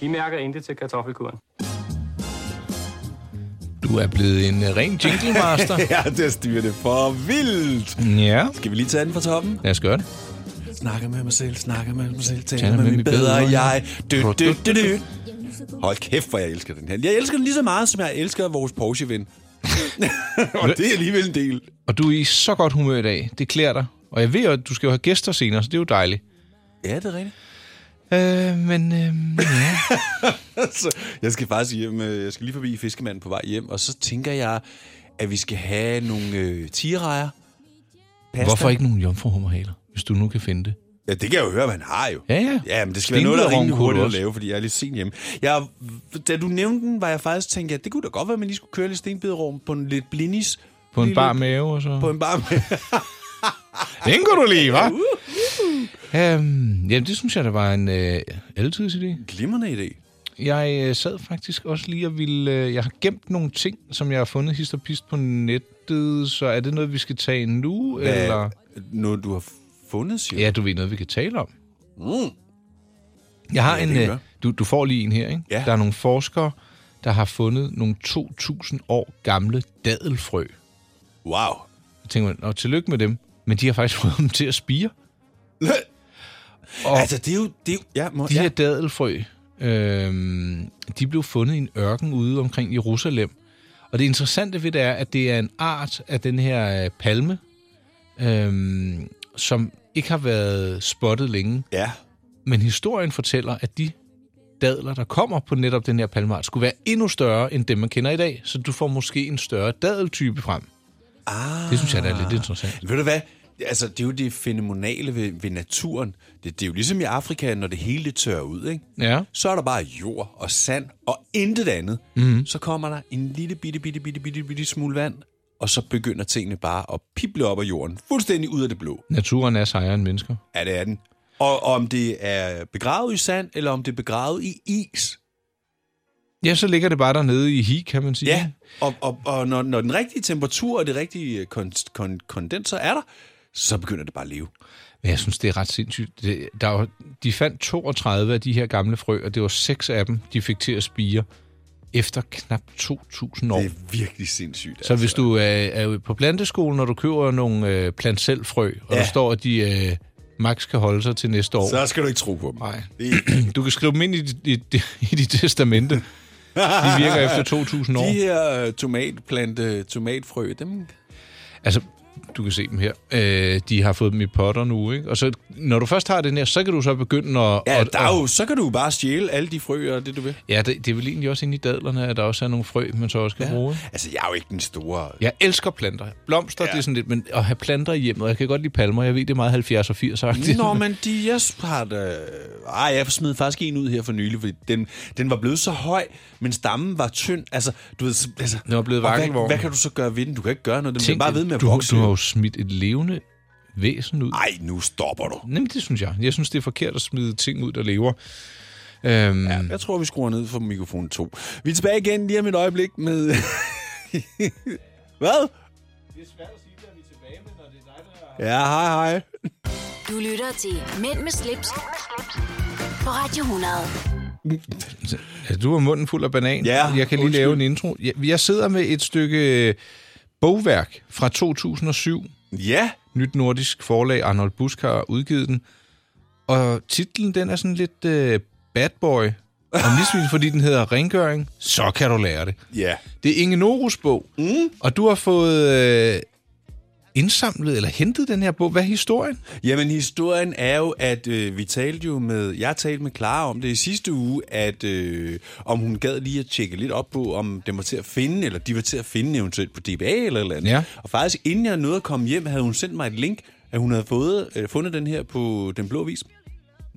Speaker 4: Vi mærker intet til kartoffelkuren.
Speaker 3: Du er blevet en øh, ren jingle master.
Speaker 2: ja, det styrer det for vildt.
Speaker 3: Ja.
Speaker 2: Skal vi lige tage den fra toppen?
Speaker 3: Lad os gøre det.
Speaker 2: Snakker med mig selv, snakker med mig selv,
Speaker 3: Taler
Speaker 2: taler med
Speaker 3: med
Speaker 2: min
Speaker 3: mit
Speaker 2: bedre
Speaker 3: bedre
Speaker 2: jeg. Dø,
Speaker 3: Dø,
Speaker 2: dø, dø,
Speaker 3: dø,
Speaker 2: dø. Hold kæft, hvor jeg elsker den her. Jeg elsker den lige så meget, som jeg elsker vores Porsche-ven. og det er alligevel en del.
Speaker 3: Og du er i så godt humør i dag. Det klæder dig. Og jeg ved jo, at du skal jo have gæster senere, så det er jo dejligt.
Speaker 2: Ja, det er rigtigt.
Speaker 3: Øh, men øh, ja.
Speaker 2: så jeg skal faktisk hjem. øh, Jeg skal lige forbi fiskemanden på vej hjem, og så tænker jeg, at vi skal have nogle øh, tigerejer. Pasta.
Speaker 3: Hvorfor ikke nogen jomfruhummerhaler, hvis du nu kan finde det?
Speaker 2: Ja, det kan jeg jo høre, man har jo.
Speaker 3: Ja, ja.
Speaker 2: Ja, men det skal være noget, der er
Speaker 3: Stenbiderrogn
Speaker 2: rimelig
Speaker 3: kunne du
Speaker 2: hurtigt at
Speaker 3: også.
Speaker 2: lave, fordi jeg er lidt sent hjemme. Jeg, da du nævnte den, var jeg faktisk tænkt, at det kunne da godt være, at man lige skulle køre lidt stenbiderum på en lidt blinis.
Speaker 3: På en
Speaker 2: Lige
Speaker 3: bar
Speaker 2: lidt-
Speaker 3: mave og så...
Speaker 2: På en Uh, bar med.
Speaker 3: Den kunne du lide, hva'?
Speaker 2: uh.
Speaker 3: Øhm, jamen, det synes jeg, der var en øh, altidsidé.
Speaker 2: Glimrende idé.
Speaker 3: Jeg øh, sad faktisk også lige og ville... Øh, jeg har gemt nogle ting, som jeg har fundet hist og pist på nettet, så er det noget, vi skal tage nu,
Speaker 2: Hvad-
Speaker 3: eller...
Speaker 2: Noget, du har fundet, siger
Speaker 3: Ja, du ved noget, vi kan tale om.
Speaker 2: Mm.
Speaker 3: Jeg
Speaker 2: Ja,
Speaker 3: har ja, en...
Speaker 2: det kan
Speaker 3: Øh,
Speaker 2: jeg.
Speaker 3: du, du får lige en her, ikke?
Speaker 2: Ja.
Speaker 3: Der er nogle forskere, der har fundet nogle 2.000 år gamle dadelfrø.
Speaker 2: Wow.
Speaker 3: Så tænker man, og tillykke med dem. Men de har faktisk fået dem til at spire. Og
Speaker 2: Altså, det er jo... Det er jo ja, må,
Speaker 3: de her dadelfrø, øhm, de blev fundet i en ørken ude omkring Jerusalem. Og det interessante ved det er, at det er en art af den her øh, palme, øhm, som ikke har været spottet længe.
Speaker 2: Ja.
Speaker 3: Men historien fortæller, at de dadler, der kommer på netop den her palmeart, skulle være endnu større end dem, man kender i dag. Så du får måske en større dadeltype frem.
Speaker 2: Ah.
Speaker 3: Det synes jeg, der er lidt interessant.
Speaker 2: Ved du hvad? Altså, det er jo det fænomenale ved, ved naturen. Det, det er jo ligesom i Afrika, når det hele det tørrer ud, ikke?
Speaker 3: Ja.
Speaker 2: Så er der bare jord og sand og intet andet. Mm-hmm. Så kommer der en lille bitte, bitte, bitte, bitte, bitte smule vand, og så begynder tingene bare at pible op af jorden. Fuldstændig ud af det blå.
Speaker 3: Naturen er sejere end mennesker.
Speaker 2: Ja, det er den. Og om det er begravet i sand, eller om det er begravet i is.
Speaker 3: Ja, så ligger det bare dernede i hi, kan man sige.
Speaker 2: Ja, og, og, og når, når den rigtige temperatur og det rigtige kon, kon, kondenser er der, så begynder det bare at leve.
Speaker 3: Men jeg synes, det er ret sindssygt. Det, der var, de fandt 32 af de her gamle frø, og det var seks af dem, de fik til at spire efter knap 2.000 år.
Speaker 2: Det er virkelig sindssygt. altså.
Speaker 3: Så hvis du er, er jo på planteskolen, når du køber nogle øh, plantselfrø, og ja.
Speaker 2: Ja.
Speaker 3: der står, at de øh, max kan holde sig til næste år,
Speaker 2: Så skal du ikke tro på dem. Nej.
Speaker 3: du kan skrive dem ind i, dit- i, dit- i dit testamente. De virker efter 2.000 år.
Speaker 2: De her øh, tomatplante, tomatfrø, dem...
Speaker 3: Altså, du kan se dem her. Øh, de har fået dem i potter nu, ikke? Og så, når du først har den her, så kan du så begynde at...
Speaker 2: Ja,
Speaker 3: at,
Speaker 2: der er jo, så kan du jo bare stjæle alle de frø og det, du vil.
Speaker 3: Ja, det, det er vel egentlig også inde i dadlerne, at der også er nogle frø, man så også kan ja. bruge.
Speaker 2: Altså, jeg er jo ikke den store...
Speaker 3: Jeg elsker planter. Blomster, ja. det er sådan lidt, men at have planter i hjemmet, jeg kan godt lide palmer, jeg ved, det er meget 70 og 80 -agtigt.
Speaker 2: Nå, men de, jeg har da... Ej, jeg smed faktisk en ud her for nylig, fordi den, den var blevet så høj, men stammen var tynd. Altså, du ved... så- Altså,
Speaker 3: Den var blevet
Speaker 2: og hvad,
Speaker 3: vakkelvogn.
Speaker 2: hvad, kan du så gøre ved den? Du kan ikke gøre noget. Den bliver
Speaker 3: Tænk,
Speaker 2: bare ved med at
Speaker 3: du,
Speaker 2: vokse.
Speaker 3: du har jo smidt et levende væsen ud.
Speaker 2: Ej, nu stopper du.
Speaker 3: Jamen, det synes jeg. Jeg synes, det er forkert at smide ting ud, der lever. Øhm, ja.
Speaker 2: Jeg tror, vi skruer ned for mikrofon 2. Vi er tilbage igen lige om et øjeblik med... Hvad? Ja, hej, hej.
Speaker 1: Du lytter til Mænd med slips, på Radio 100.
Speaker 3: altså, du har munden fuld af banan.
Speaker 2: Ja,
Speaker 3: jeg kan lige
Speaker 2: undskyld.
Speaker 3: lave en intro. Jeg, jeg sidder med et stykke øh, bogværk fra 2007.
Speaker 2: Ja,
Speaker 3: Nyt Nordisk Forlag, Arnold Busk har udgivet den. Og titlen, den er sådan lidt øh, bad boy. Og misvis, fordi den hedder Rengøring, så kan du lære det.
Speaker 2: ja.
Speaker 3: Det er Inge Norus bog, mm. og du har fået øh, indsamlet eller hentet den her bog. Hvad er historien?
Speaker 2: Jamen, historien er jo, at øh, vi talte jo med... Jeg talte med Clara om det i sidste uge, at øh, om hun gad lige at tjekke lidt op på, om den var til at finde, eller de var til at finde eventuelt på DBA eller et eller andet.
Speaker 3: Ja.
Speaker 2: Og faktisk, inden jeg nåede at komme hjem, havde hun sendt mig et link, at hun havde fået, øh, fundet den her på Den Blå Vis.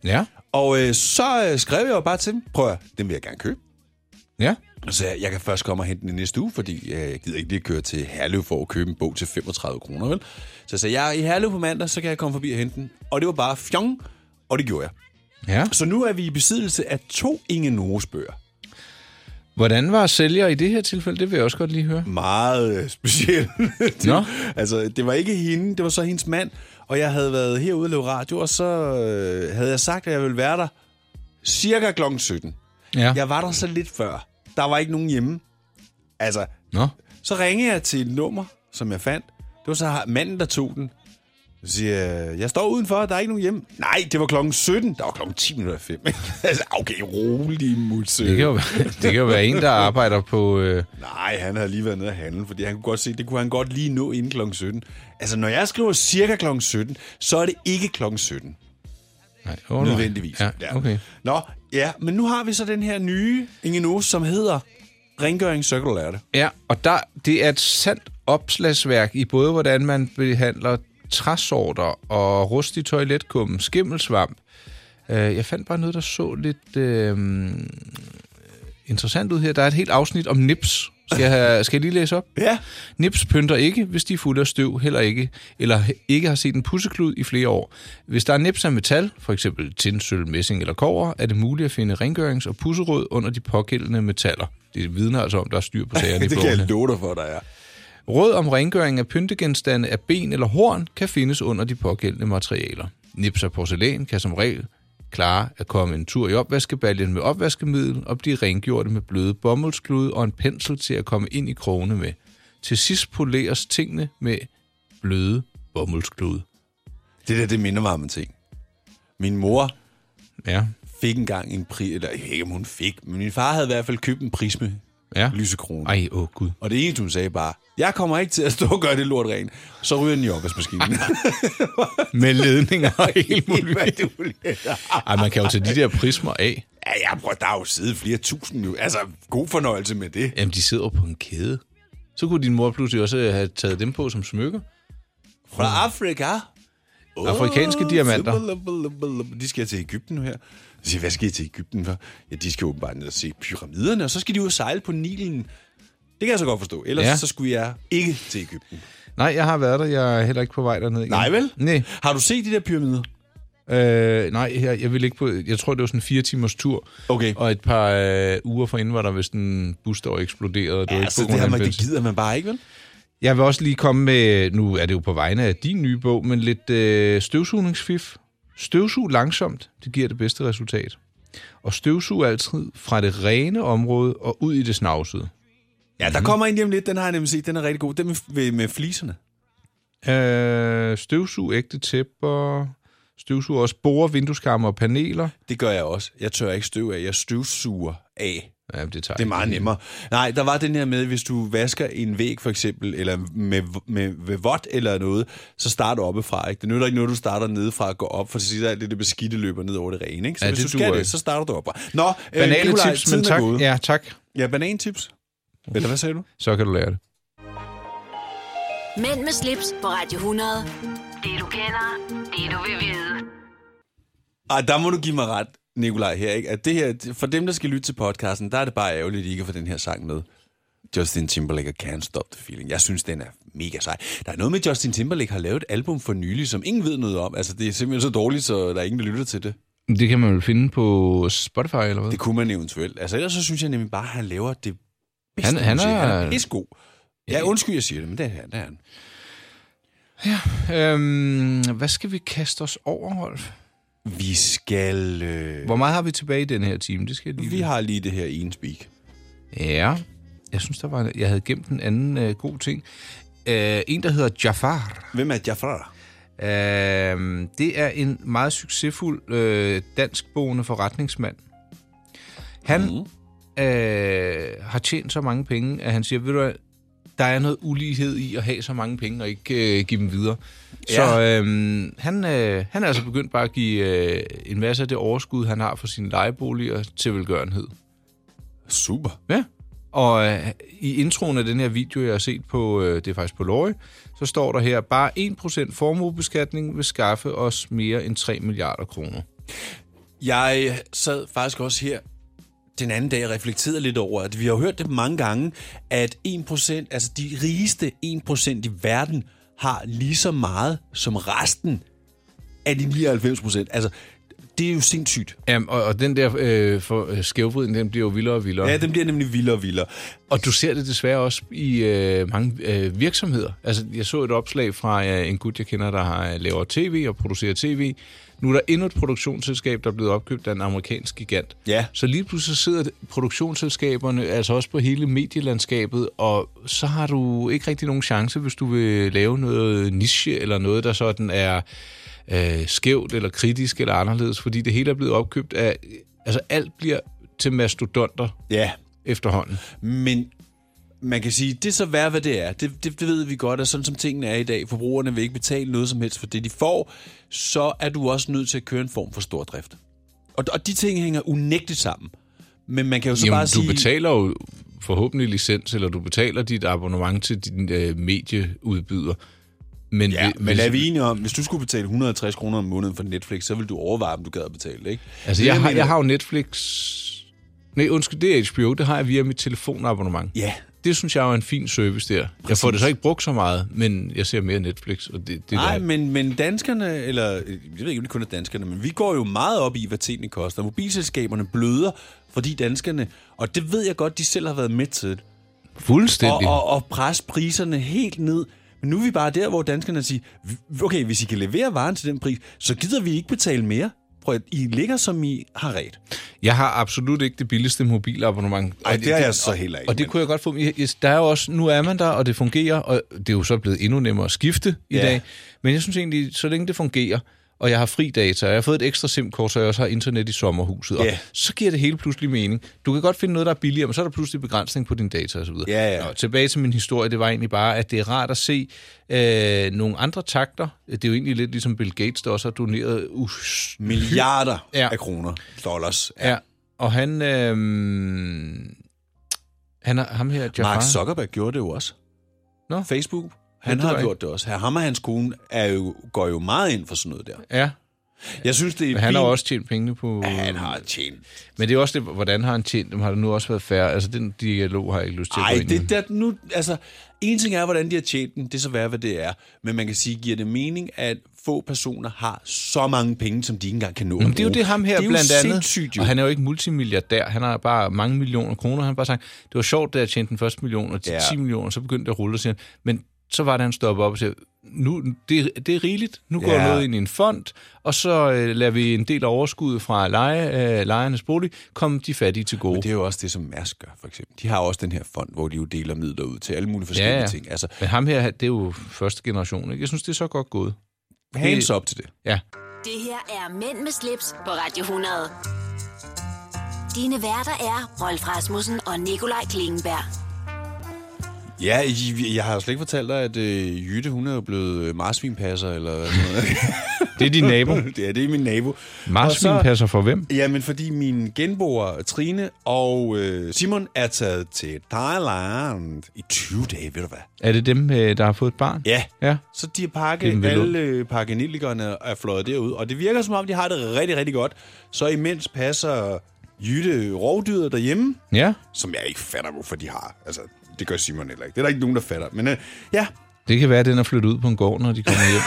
Speaker 3: Ja,
Speaker 2: Og øh, så øh, skrev jeg jo bare til dem, prøv at, høre, den vil jeg gerne købe.
Speaker 3: ja.
Speaker 2: Og Så jeg, jeg kan først komme og hente den i næste uge, fordi øh, jeg gider ikke lige køre til Herlev for at købe en bog til 35 kroner, vel? Så jeg sagde, jeg er i Herlev på mandag, så kan jeg komme forbi og hente den. Og det var bare fjong, og det gjorde jeg.
Speaker 3: ja.
Speaker 2: Så nu er vi i besiddelse af to Inge Nores bøger.
Speaker 3: Hvordan var sælger i det her tilfælde? Det vil jeg også godt lige høre.
Speaker 2: Meget øh, specielt. Det-
Speaker 3: Nå.
Speaker 2: Altså, det var ikke hende, det var så hendes mand. Og jeg havde været herude og lavet radio, og så øh, havde jeg sagt, at jeg ville være der cirka kl. 17.
Speaker 3: Ja.
Speaker 2: Jeg var der så lidt før. Der var ikke nogen hjemme. Altså,
Speaker 3: Nå.
Speaker 2: så ringede jeg til et nummer, som jeg fandt. Det var så har- manden, der tog den. Så siger jeg, jeg står udenfor, der er ikke nogen hjemme. Nej, det var klokken 17. Der var klokken 10 minutter i fem. altså, okay, rolig musse.
Speaker 3: Det kan, jo, være- det kan jo være en, der arbejder på... Øh,
Speaker 2: Nej, han havde lige været nede at handle, fordi han kunne godt se, det kunne han godt lige nå inden klokken 17. Altså, når jeg skriver cirka klokken 17, så er det ikke klokken 17.
Speaker 3: nej,
Speaker 2: Oh,
Speaker 3: åh, nej.
Speaker 2: nødvendigvis.
Speaker 3: Ja, okay.
Speaker 2: Nå, ja, men nu har vi så den her nye Ingenose, som hedder Rengøring Circle er det.
Speaker 3: Ja, og der, det er et sandt opslagsværk i både, hvordan man behandler træsorter og rust i toiletkummen, skimmelsvamp. Øh, Jeg fandt bare noget, der så lidt øh, interessant ud her. Der er et helt afsnit om nips. Skal jeg, have, skal jeg lige læse op?
Speaker 2: Ja.
Speaker 3: Nips pynter ikke, hvis de er fulde af støv, heller ikke, eller ikke har set en pusseklud i flere år. Hvis der er nips af metal, f.eks. tin, sølv, messing eller kover, er det muligt at finde rengørings- og pusserød under de pågældende metaller. Det vidner altså om, der er styr på sagerne i
Speaker 2: det kan
Speaker 3: bogen
Speaker 2: jeg
Speaker 3: her.
Speaker 2: love dig for, der er.
Speaker 3: Råd om rengøring af pyntegenstande af ben eller horn kan findes under de pågældende materialer. Nips af porcelæn kan som regel klare at komme en tur i opvaskebaljen med opvaskemiddel og blive rengjorte med bløde bommelsklud og en pensel til at komme ind i krogene med. Til sidst poleres tingene med bløde bommelsklud.
Speaker 2: Det der, det minder mig om en ting. Min mor
Speaker 3: Ja,
Speaker 2: fik engang en pris, eller jeg ved ikke, om hun fik, men min far havde i hvert fald købt en prisme
Speaker 3: ja.
Speaker 2: lysekrone.
Speaker 3: Ej, åh gud.
Speaker 2: Og det eneste, hun sagde bare, jeg kommer ikke til at stå og gøre det lort rent. Så ryger den i opvaskemaskinen.
Speaker 3: Med ledninger og helt
Speaker 2: Hvad
Speaker 3: muligt.
Speaker 2: du lærer.
Speaker 3: Ej, man kan jo tage de der prismer af.
Speaker 2: Ja, jeg prøver, der er jo siddet flere tusind nu. Altså, god fornøjelse med det.
Speaker 3: Jamen, de sidder jo på en kæde. Så kunne din mor pludselig også have taget dem på som smykker.
Speaker 2: Fra Afrika. Oh,
Speaker 3: Afrikanske diamanter.
Speaker 2: De skal til Ægypten nu her. Jeg siger, hvad skal I til Ægypten for? Ja, de skal åbenbart ned og se pyramiderne, og så skal de ud og sejle på Nilen. Det kan jeg så godt forstå. Ellers ja.
Speaker 3: Ja.
Speaker 2: så skulle jeg ikke til Ægypten.
Speaker 3: Nej, jeg har været der. Jeg er heller ikke på vej derned igen.
Speaker 2: Nej vel?
Speaker 3: Nej.
Speaker 2: Har du set de der pyramider?
Speaker 3: Øh, nej, jeg, jeg vil ikke på... Jeg tror, det var sådan en fire timers tur.
Speaker 2: Okay.
Speaker 3: Og et par øh, uger forinden var der vist en bus, der var eksploderet. Og det var
Speaker 2: Ja,
Speaker 3: ikke
Speaker 2: altså,
Speaker 3: på
Speaker 2: det,
Speaker 3: grund
Speaker 2: har
Speaker 3: af
Speaker 2: man,
Speaker 3: en
Speaker 2: det
Speaker 3: pølse.
Speaker 2: gider man bare ikke, vel?
Speaker 3: Jeg vil også lige komme med... Nu er det jo på vegne af din nye bog, men lidt øh, støvsugningsfif. Støvsug langsomt, det giver det bedste resultat. Og støvsug altid fra det rene område og ud i det snavsede.
Speaker 2: Ja, der kommer en lige om lidt. Den har jeg nemlig set. Den er rigtig god. Den med, med, med fliserne.
Speaker 3: Øh, støvsug ægte tæpper... Støvsug også borer, vindueskammer og paneler.
Speaker 2: Det gør jeg også. Jeg tør ikke støv af. Jeg støvsuger af.
Speaker 3: Ja, det, tager
Speaker 2: Det er meget
Speaker 3: ikke-
Speaker 2: nemmere. Nej, der var den her med, hvis du vasker en væg for eksempel, eller med, med, med vådt eller noget, så start oppefra. Ikke? Det nytter ikke noget, du starter nedefra og går op, for så siger alt det, det beskidte løber ned over det rene. Ikke? Så ja,
Speaker 3: Ja,
Speaker 2: hvis
Speaker 3: det
Speaker 2: du skal
Speaker 3: duer
Speaker 2: det,
Speaker 3: ikke.
Speaker 2: så starter du oppefra. Nå, øh,
Speaker 3: Banale
Speaker 2: Nikolaj,
Speaker 3: tips,
Speaker 2: tiden
Speaker 3: men
Speaker 2: er
Speaker 3: tak.
Speaker 2: gået.
Speaker 3: Ja, tak.
Speaker 2: Ja, banantips. Eller hvad sagde du?
Speaker 3: Så kan du lære det.
Speaker 1: Mænd med slips på Radio 100. Det du kender, det du vil vide.
Speaker 2: Ej, der må du give mig ret, Nikolaj, her. Ikke? At det her, for dem, der skal lytte til podcasten, der er det bare ærgerligt, at I ikke får den her sang med. Justin Timberlake og Can't Stop the Feeling. Jeg synes, den er mega sej. Der er noget med, at Justin Timberlake har lavet et album for nylig, som ingen ved noget om. Altså, det er simpelthen så dårligt, så der er ingen, der lytter til det.
Speaker 3: Det kan man vel finde på Spotify, eller hvad?
Speaker 2: Det kunne man eventuelt. Altså, ellers så synes jeg nemlig bare, at han laver det bedste
Speaker 3: Han- han
Speaker 2: musik.
Speaker 3: er-
Speaker 2: Han er pissegod. Ja, undskyld, jeg siger det, men det er han. Det er han.
Speaker 3: Øhm, hvad skal vi kaste os over, Rolf?
Speaker 2: Vi skal... Øh...
Speaker 3: Hvor meget har vi tilbage i den her time? Det skal jeg lige...
Speaker 2: Vi har lige det her ene speak.
Speaker 3: Ja, jeg synes, der var... en- jeg havde gemt en anden øh, god ting. Øh, en, der hedder Jafar.
Speaker 2: Hvem er Jafar?
Speaker 3: Øh, det er en meget succesfuld øh, danskboende forretningsmand. Han
Speaker 2: Mhm.
Speaker 3: øh, har tjent så mange penge, at han siger, ved du hvad, der er noget ulighed i at have så mange penge og ikke øh, give dem videre. Så øh, han, øh, han er altså begyndt bare at give øh, en masse af det overskud, han har fra sine lejeboliger til velgørenhed.
Speaker 2: Super.
Speaker 3: Ja. Og øh, i introen af den her video, jeg har set på, øh, det er faktisk på Lorry, så står der her, bare 1% formuebeskatning vil skaffe os mere end 3 milliarder kroner.
Speaker 2: Jeg sad faktisk også her den anden dag og reflekterede lidt over, at vi har jo hørt det mange gange, at 1%, altså de rigeste 1% i verden, har lige så meget som resten af de 99%. Altså, det er jo sindssygt.
Speaker 3: Jamen, og, og den der øh, for, øh, skævvriden, den bliver jo vildere og vildere.
Speaker 2: Ja, den bliver nemlig vildere og vildere.
Speaker 3: Og du ser det desværre også i øh, mange øh, virksomheder. Altså, jeg så et opslag fra øh, en gut, jeg kender, der har øh, laver tv og producerer tv. Nu er der endnu et produktionsselskab, der er blevet opkøbt af en amerikansk gigant.
Speaker 2: Ja.
Speaker 3: Så lige pludselig sidder produktionsselskaberne altså også på hele medielandskabet, og så har du ikke rigtig nogen chance, hvis du vil lave noget niche eller noget, der sådan er øh, skævt eller kritisk eller anderledes, fordi det hele er blevet opkøbt af... Altså alt bliver til mastodonter
Speaker 2: Ja.
Speaker 3: efterhånden.
Speaker 2: Men man kan sige, det er så værd, hvad det er. Det, det, det ved vi godt, at sådan som tingene er i dag, forbrugerne vil ikke betale noget som helst for det, de får, så er du også nødt til at køre en form for stordrift. Og, og de ting hænger unægteligt sammen. Men man kan jo så
Speaker 3: Jamen,
Speaker 2: bare
Speaker 3: du
Speaker 2: sige...
Speaker 3: betaler jo forhåbentlig licens, eller du betaler dit abonnement til din øh, medieudbyder. Men,
Speaker 2: Ja,
Speaker 3: vi-
Speaker 2: men er vi enige om, hvis du skulle betale 160 kroner om måneden for Netflix, så ville du overveje, om du gad at betale det, ikke?
Speaker 3: Altså,
Speaker 2: Det,
Speaker 3: jeg, har,
Speaker 2: mener-
Speaker 3: jeg har jo Netflix... Nej, undskyld, det er HBO. Det har jeg via mit telefonabonnement.
Speaker 2: Ja.
Speaker 3: Det synes jeg er en fin service der. Præcis. Jeg får det så ikke brugt så meget, men jeg ser mere Netflix. Og det, det
Speaker 2: Nej,
Speaker 3: er,
Speaker 2: men, men danskerne, eller øh, jeg ved ikke, om det kun er danskerne, men vi går jo meget op i, hvad tingene koster. Mobilselskaberne bløder, fordi danskerne, og det ved jeg godt, de selv har været med til, og,
Speaker 3: fuldstændig.
Speaker 2: og, og presse priserne helt ned. Men nu er vi bare der, hvor danskerne siger, "Vi- okay, hvis I kan levere varen til den pris, så gider vi ikke betale mere. Prøv at I ligger, som I har ret.
Speaker 3: Jeg har absolut ikke det billigste mobilabonnement.
Speaker 2: Ej,
Speaker 3: Og
Speaker 2: det har jeg så heller ikke,
Speaker 3: Og det kunne jeg godt få. Jeg- jeg- Der er jo også, nu er man der, og det fungerer, og det er jo så blevet endnu nemmere at skifte i
Speaker 2: Ja.
Speaker 3: dag. Men jeg synes egentlig, så længe det fungerer, og jeg har fri data, og jeg har fået et ekstra SIM-kort, så jeg også har internet i sommerhuset, og
Speaker 2: Ja.
Speaker 3: så giver det hele pludselig mening. Du kan godt finde noget, der er billigere, men så er der pludselig begrænsning på din data osv.
Speaker 2: Ja, ja.
Speaker 3: Nå, tilbage til min historie, det var egentlig bare, at det er rart at se øh, nogle andre takter. Det er jo egentlig lidt ligesom Bill Gates, der også har doneret uh,
Speaker 2: Milliarder
Speaker 3: Ja.
Speaker 2: ja. Mm. af kroner, dollars.
Speaker 3: Ja. ja. Og han... Øh, han er, ham her, Jafar.
Speaker 2: Mark Zuckerberg gjorde det jo også.
Speaker 3: Nå.
Speaker 2: Facebook,
Speaker 3: Ja,
Speaker 2: han
Speaker 3: det
Speaker 2: har
Speaker 3: var
Speaker 2: gjort det også. Ham og hans kone er jo, går jo meget ind for sådan noget der.
Speaker 3: Ja,
Speaker 2: Jeg synes, det er
Speaker 3: men han har
Speaker 2: fint.
Speaker 3: også tjent pengene på...
Speaker 2: Ja, Han har tjent.
Speaker 3: Men det er også det, hvordan har han tjent dem? Har det nu også været færre? Altså, den dialog har jeg ikke lyst til at
Speaker 2: Ej,
Speaker 3: gå ind i.
Speaker 2: det der, nu, altså, en ting er, hvordan de har tjent den, det er så værd, hvad det er. Men man kan sige, giver det mening, at få personer har så mange penge, som de ikke engang kan nå
Speaker 3: Jamen, det er jo
Speaker 2: bruge?
Speaker 3: det ham her
Speaker 2: det er
Speaker 3: blandt
Speaker 2: jo
Speaker 3: andet.
Speaker 2: Sindssygt, jo.
Speaker 3: Og han er jo ikke multimilliardær. Han har bare mange millioner kroner. Han har bare sagt, det var sjovt, da jeg tjente den første million, og de
Speaker 2: Ja.
Speaker 3: 10 millioner, så begyndte det at rulle, og siger, han, men så var det, han stoppede op og siger, nu, det, det er rigeligt, nu går
Speaker 2: Ja.
Speaker 3: noget ind i en fond, og så øh, lader vi en del af overskuddet fra leje, øh, lejernes bolig komme de fattige til gode.
Speaker 2: Men det er jo også det, som Mærsk gør, for eksempel. De har også den her fond, hvor de jo deler midler ud til alle mulige forskellige
Speaker 3: ja, ja.
Speaker 2: ting. Altså,
Speaker 3: Men ham her, han- det er jo første generation, ikke? Jeg synes, det er så godt gået.
Speaker 2: hands op til det.
Speaker 3: Ja.
Speaker 1: Det her er Mænd med slips på Radio 100. Dine værter er Rolf Rasmussen og Nikolaj Klingenberg.
Speaker 2: Ja, I- jeg har jo slet ikke fortalt dig, at øh, Jytte, hun er jo blevet øh, marsvinpasser, eller sådan noget.
Speaker 3: Det er din nabo.
Speaker 2: det er det er min nabo.
Speaker 3: Marsvin
Speaker 2: Og så-
Speaker 3: passer for hvem?
Speaker 2: Jamen, fordi mine genboer Trine og øh, Simon er taget til Thailand i 20 dage, ved du hvad?
Speaker 3: Er det dem, øh, der har fået et barn?
Speaker 2: Ja.
Speaker 3: Ja.
Speaker 2: Så de har
Speaker 3: Dem
Speaker 2: pakket,
Speaker 3: ved Lund.
Speaker 2: alle øh, pakkenillikerne er fløjet derud, og det virker som om, de har det rigtig, rigtig godt. Så imens passer Jytte rovdyret derhjemme,
Speaker 3: Ja.
Speaker 2: som jeg ikke fatter, hvorfor de har. Altså, det gør Simon heller ikke. Det er der ikke nogen, der fatter. Men øh, ja,
Speaker 3: Det kan være, at den er flyttet ud på en gård, når de kommer hjem.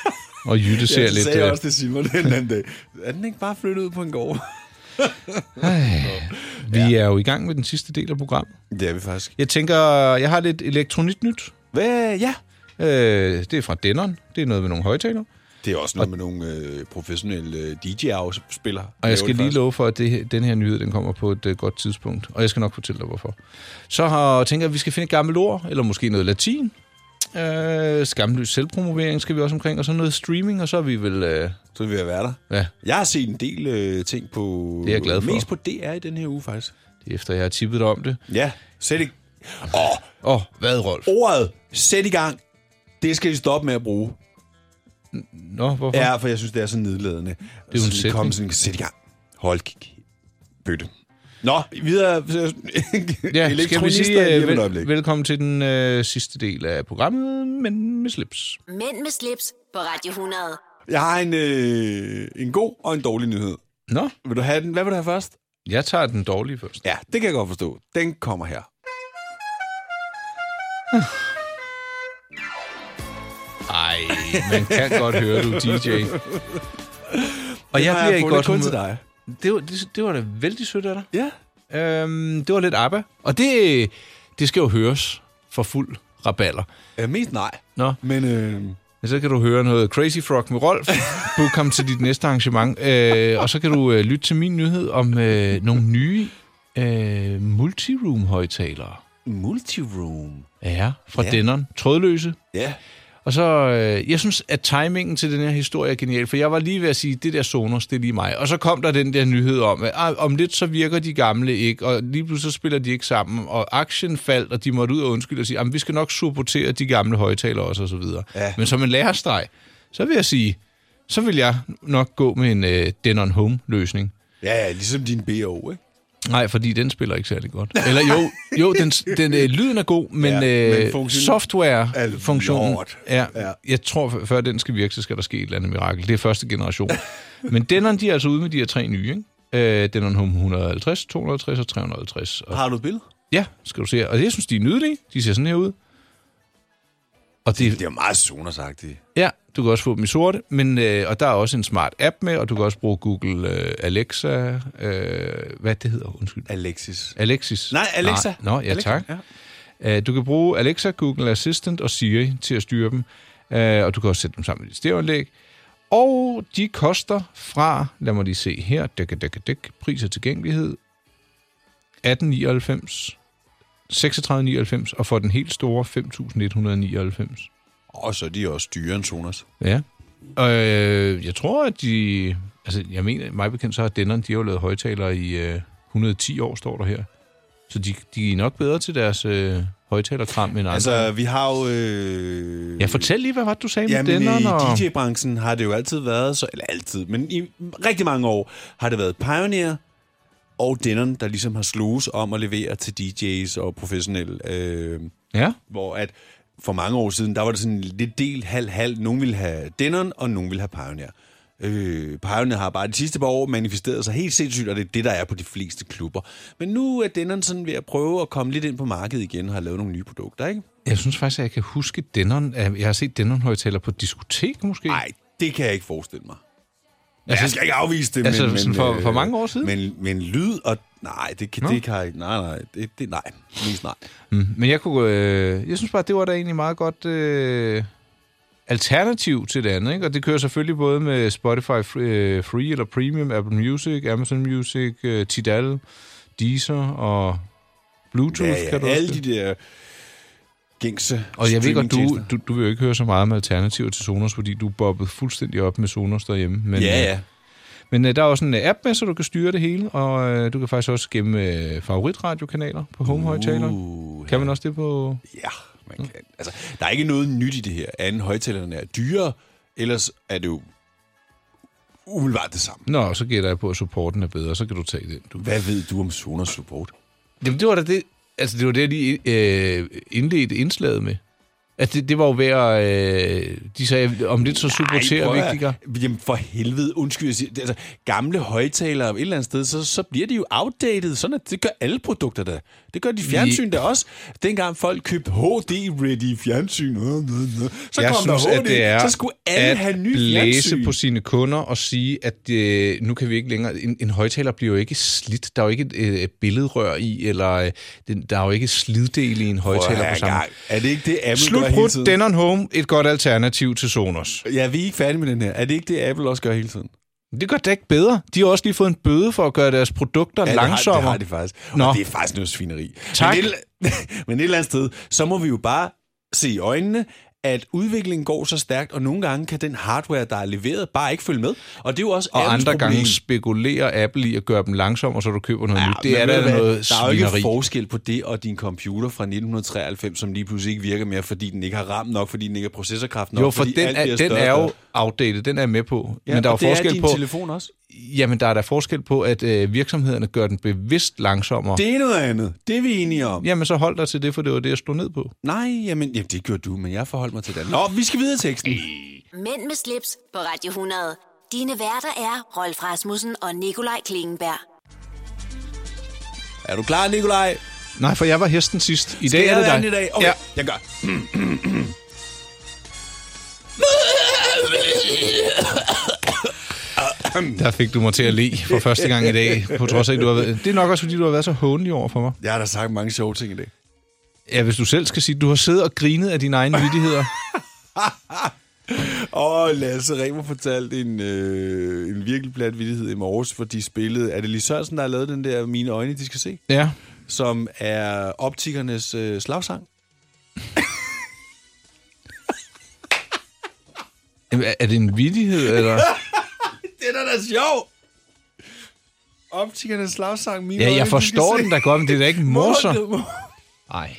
Speaker 3: og Jytte ser
Speaker 2: ja, det
Speaker 3: lidt...
Speaker 2: sagde jeg
Speaker 3: øh,
Speaker 2: også til Simon den anden dag. Er den ikke bare flyttet ud på en gård?
Speaker 3: Vi er jo i gang med den sidste del af programmet.
Speaker 2: Det er vi faktisk.
Speaker 3: Jeg tænker, jeg har lidt elektroniknyt.
Speaker 2: Hvad? Ja.
Speaker 3: Øh, det er fra Denon. Det er noget med nogle højtalere.
Speaker 2: Det er også noget med nogle øh, professionelle øh, DJ-afspillere.
Speaker 3: Og jeg skal lige love for, at det, her- den her nyhed den kommer på et øh, godt tidspunkt. Og jeg skal nok fortælle dig, hvorfor. Så har, tænker jeg, at vi skal finde et gammelt ord, eller måske noget latin. Øh, skamløs selvpromovering skal vi også omkring, og så noget streaming, og så er vi vel... Øh,
Speaker 2: Så vil jeg være der.
Speaker 3: ja,
Speaker 2: Jeg har set en del øh, ting på...
Speaker 3: Det er jeg glad for.
Speaker 2: Mest på DR i den her uge, faktisk.
Speaker 3: det er efter jeg har tippet dig om det.
Speaker 2: Ja, sæt i... Åh,
Speaker 3: Åh, oh, hvad, Rolf?
Speaker 2: ordet sæt i gang, det skal vi stoppe med at bruge.
Speaker 3: Nå, hvorfor?
Speaker 2: Ja, for jeg synes, det er så nedladende. Det
Speaker 3: en
Speaker 2: så
Speaker 3: sætning.
Speaker 2: Kom sådan, sæt i gang. Hold kæ- bøtte. Nå, videre.
Speaker 3: Ja, skal vi sige øh,
Speaker 2: uh,
Speaker 3: vel, velkommen til den øh, sidste del af programmet, men med slips.
Speaker 1: Mænd med slips på Radio 100.
Speaker 2: Jeg har en, øh, en god og en dårlig nyhed.
Speaker 3: Nå,
Speaker 2: Vil du have den? Hvad vil du have først?
Speaker 3: jeg tager den dårlige først.
Speaker 2: Ja, det kan jeg godt forstå. Den kommer her.
Speaker 3: Ej, man kan godt høre, du er DJ. Og jeg
Speaker 8: har
Speaker 3: bliver i
Speaker 8: fundet
Speaker 3: godt
Speaker 8: kun
Speaker 3: humør.
Speaker 8: til dig.
Speaker 3: Det var, det, det var da vældig sødt af dig.
Speaker 8: Ja.
Speaker 3: Øhm, det var lidt ABBA. Og det, øh, det skal jo høres for fuld raballer.
Speaker 8: Ja, mest nej.
Speaker 3: Nå.
Speaker 8: Men, øh...
Speaker 3: Men så kan du høre noget Crazy Frog med Rolf. Du kom til dit næste arrangement. Øh, og så kan du øh, lytte til min nyhed om øh, nogle nye øh, multiroom-højtalere.
Speaker 8: Multiroom.
Speaker 3: Ja, fra
Speaker 8: Ja.
Speaker 3: ja. Denon. Trådløse.
Speaker 8: Ja.
Speaker 3: Og så, øh, jeg synes, at timingen til den her historie er genial, for jeg var lige ved at sige, det der Sonos, det er lige mig. Og så kom der den der nyhed om, at ah, om lidt så virker de gamle ikke, og lige pludselig så spiller de ikke sammen, og aktien faldt, og de måtte ud og undskylde og sige, at vi skal nok supportere de gamle højtalere også, og så videre.
Speaker 8: Ja.
Speaker 3: Men som en lærerstreg, så vil jeg sige, så vil jeg nok gå med en øh, Denon Home-løsning.
Speaker 8: Ja, ja, ligesom din BO, ikke?
Speaker 3: Nej, fordi den spiller ikke særlig godt. Eller jo, jo den, den øh, lyden er god, men,
Speaker 8: Ja,
Speaker 3: ja,
Speaker 8: men
Speaker 3: øh,
Speaker 8: funktion-
Speaker 3: software-funktionen...
Speaker 8: lort.
Speaker 3: Ja, ja. Jeg tror, f- før den skal virke, så skal der ske et eller andet mirakel. Det er første generation. men Denon, de er altså ude med de her tre nye, ikke? Øh, Denon Home 150, 250 og 350. Og,
Speaker 8: Har du et billede?
Speaker 3: ja, skal du se. Og jeg synes, de er nydelige. De ser sådan her ud. Og det,
Speaker 8: Det er jo meget Sonos-agtigt.
Speaker 3: Ja, du kan også få dem i sorte, men, øh, og der er også en smart app med, og du kan også bruge Google øh, Alexa, øh, hvad det hedder, undskyld.
Speaker 8: Alexis.
Speaker 3: Alexis.
Speaker 8: Nej, Alexa.
Speaker 3: Nej, Nå, ja
Speaker 8: Alexa,
Speaker 3: tak.
Speaker 8: ja.
Speaker 3: Øh, du kan bruge Alexa, Google Assistant og Siri til at styre dem, øh, og du kan også sætte dem sammen i dit stereoanlæg. Og de koster fra, lad mig lige se her, dæk, dæk, dæk, pris og tilgængelighed, 1899, 3699, og for den helt store, 5199.
Speaker 8: Og så er de også dyrere end Sonos.
Speaker 3: Ja. Øh, jeg tror, at de... Altså, jeg mener, mig bekendt, så har Denon, de har jo lavet højtalere i øh, 110 år, står der her. Så de, de er nok bedre til deres øh, højtalerkram end andre.
Speaker 8: Altså, vi har jo... Øh...
Speaker 3: ja, fortæl lige, hvad var det, du sagde med
Speaker 8: Jamen, øh,
Speaker 3: Denon? Og...
Speaker 8: i DJ-branchen har det jo altid været, så, eller altid, men i rigtig mange år har det været Pioneer og Denon, der ligesom har sluges om at levere til DJ's og professionelle. Øh,
Speaker 3: Ja.
Speaker 8: Hvor at for mange år siden, der var det sådan lidt del halv-halv. Nogen ville have Denon, og nogen ville have Pioneer. Øh, Pioneer har bare de sidste par år manifesteret sig helt sindssygt, og det er det, der er på de fleste klubber. Men nu er Denon sådan ved at prøve at komme lidt ind på markedet igen og har lavet nogle nye produkter, ikke?
Speaker 3: Jeg synes faktisk, at jeg kan huske Denon. øh, Jeg har set Denon-højtaler på et diskotek, måske.
Speaker 8: Nej, det kan jeg ikke forestille mig. Altså, jeg skal ikke afvise det,
Speaker 3: altså,
Speaker 8: men...
Speaker 3: sådan
Speaker 8: men
Speaker 3: for-
Speaker 8: øh,
Speaker 3: for mange år siden?
Speaker 8: Men, men lyd og... Nej, det kan,
Speaker 3: Nå.
Speaker 8: det kan jeg ikke. Nej, nej, det, det nej. Mest nej.
Speaker 3: Mm, men jeg kunne... Øh, jeg synes bare, det var da egentlig meget godt... Øh, alternativ til det andet, ikke? Og det kører selvfølgelig både med Spotify fr- øh, Free eller Premium, Apple Music, Amazon Music, øh, Tidal, Deezer og Bluetooth,
Speaker 8: Ja,
Speaker 3: kan du
Speaker 8: ja, alle
Speaker 3: også det?
Speaker 8: de der gængse
Speaker 3: Og jeg ved godt, du,
Speaker 8: streamingtjenester.
Speaker 3: du, du vil jo ikke høre så meget om alternativer til Sonos, fordi du er bobbet fuldstændig op med Sonos derhjemme. Men,
Speaker 8: Ja,
Speaker 3: øh,
Speaker 8: ja.
Speaker 3: Men øh, der er også en øh, app med, så du kan styre det hele, og øh, du kan faktisk også gemme øh, favoritradiokanaler på homehøjtaler. Uh, kan man også det på...
Speaker 8: Ja, man kan. Altså, der er ikke noget nyt i det her. Anden højtalerne er dyre, ellers er det jo umiddelbart det samme.
Speaker 3: Nå, så gætter jeg på, at supporten er bedre, så kan du tage den. Du.
Speaker 8: Hvad ved du om Sonos Support?
Speaker 3: Jamen, det var da det, altså, det, var det jeg lige øh, indledte indslaget med. Altså, det, det var jo ved at... Øh, de sagde, om lidt så supporterer
Speaker 8: prøv
Speaker 3: vi
Speaker 8: at-
Speaker 3: ikke, de gør.
Speaker 8: Jamen for helvede, undskyld. Jeg siger, det- altså, gamle højtalere et eller andet sted, så, så bliver de jo outdated. Sådan at det gør alle produkter da. Det gør de fjernsyn der også. Dengang folk købte HD-ready fjernsyn, øh, øh, øh, så
Speaker 3: jeg
Speaker 8: kom
Speaker 3: synes,
Speaker 8: der HD,
Speaker 3: at det er
Speaker 8: så skulle alle
Speaker 3: at
Speaker 8: have nye
Speaker 3: blæse
Speaker 8: fjernsyn.
Speaker 3: på sine kunder og sige, at øh, nu kan vi ikke længere... En, en højtaler bliver jo ikke slidt. Der er jo ikke et øh, billedrør i, eller øh, den, der er jo ikke sliddel i en
Speaker 8: Prøv at
Speaker 3: højtaler
Speaker 8: høre
Speaker 3: på samme
Speaker 8: engang. Er det ikke det, Apple gør hele
Speaker 3: Slutbrud,
Speaker 8: tiden?
Speaker 3: Denon Home, et godt alternativ til Sonos.
Speaker 8: Ja, vi er ikke færdige med den her. Er det ikke det, Apple også gør hele tiden?
Speaker 3: Det gør det ikke bedre. De har også lige fået en bøde for at gøre deres produkter
Speaker 8: Ja, det har-
Speaker 3: langsommere.
Speaker 8: Det har de faktisk. Og
Speaker 3: Nå.
Speaker 8: det er faktisk noget svineri.
Speaker 3: Tak.
Speaker 8: Men et, eller- men et eller andet sted, så må vi jo bare se i øjnene, at udviklingen går så stærkt, og nogle gange kan den hardware, der er leveret, bare ikke følge med. Og det er jo også
Speaker 3: Og
Speaker 8: Apples
Speaker 3: andre
Speaker 8: problem.
Speaker 3: gange spekulerer Apple i at gøre dem langsommere, så du køber noget ja, nyt. Det
Speaker 8: men
Speaker 3: er
Speaker 8: ved du
Speaker 3: da
Speaker 8: hvad?
Speaker 3: noget
Speaker 8: Der er jo ikke
Speaker 3: svineri.
Speaker 8: forskel på det og din computer fra 1993, som lige pludselig ikke virker mere, fordi den ikke har RAM nok, fordi den ikke har processorkraft nok.
Speaker 3: Jo, for
Speaker 8: fordi
Speaker 3: den
Speaker 8: alt
Speaker 3: er,
Speaker 8: bliver
Speaker 3: den
Speaker 8: større
Speaker 3: er
Speaker 8: og
Speaker 3: jo
Speaker 8: større.
Speaker 3: outdated, den er jeg med på.
Speaker 8: Ja,
Speaker 3: men der er jo
Speaker 8: og det
Speaker 3: forskel
Speaker 8: er din
Speaker 3: på,
Speaker 8: telefon også.
Speaker 3: Jamen, der er der forskel på, at øh, virksomhederne gør den bevidst langsommere.
Speaker 8: Det er noget andet. Det er vi enige om.
Speaker 3: Jamen, så hold dig til det, for det var det, jeg slog ned på.
Speaker 8: Nej, jamen, jamen det gjorde du, men jeg forholdt mig til det. Nå, vi skal videre i teksten.
Speaker 1: Mænd med slips på Radio 100. Dine værter er Rolf Rasmussen og Nikolaj Klingenberg.
Speaker 8: Er du klar, Nikolaj?
Speaker 3: Nej, for jeg var hesten sidst. I
Speaker 8: Skal
Speaker 3: dag
Speaker 8: jeg
Speaker 3: er det
Speaker 8: være
Speaker 3: dig.
Speaker 8: den i dag? Okay,
Speaker 3: Ja.
Speaker 8: jeg gør.
Speaker 3: Der fik du mig til at le for første gang i dag, på trods af, at du har været... Det er nok også, fordi du har været så håndelig over for mig.
Speaker 8: Jeg har da sagt mange sjove ting i dag.
Speaker 3: Ja, hvis du selv skal sige, at du har siddet og grinet af dine egne vittigheder.
Speaker 8: Åh, oh, Lasse Remer fortalte en, øh, en virkelig plat vittighed i morges, for de spillede... Er det Lis Sørensen, der har lavet den der Mine Øjne, de skal se?
Speaker 3: Ja.
Speaker 8: Som er optikernes øh, slagsang.
Speaker 3: Jamen, Er er det en vittighed, eller?
Speaker 8: det er da da sjov! Optikernes slagsang, Mine
Speaker 3: Ja,
Speaker 8: Øjne,
Speaker 3: jeg
Speaker 8: de skal
Speaker 3: forstår
Speaker 8: se.
Speaker 3: den da godt, men det er da ikke morsomt.
Speaker 8: Morten.
Speaker 3: Nej.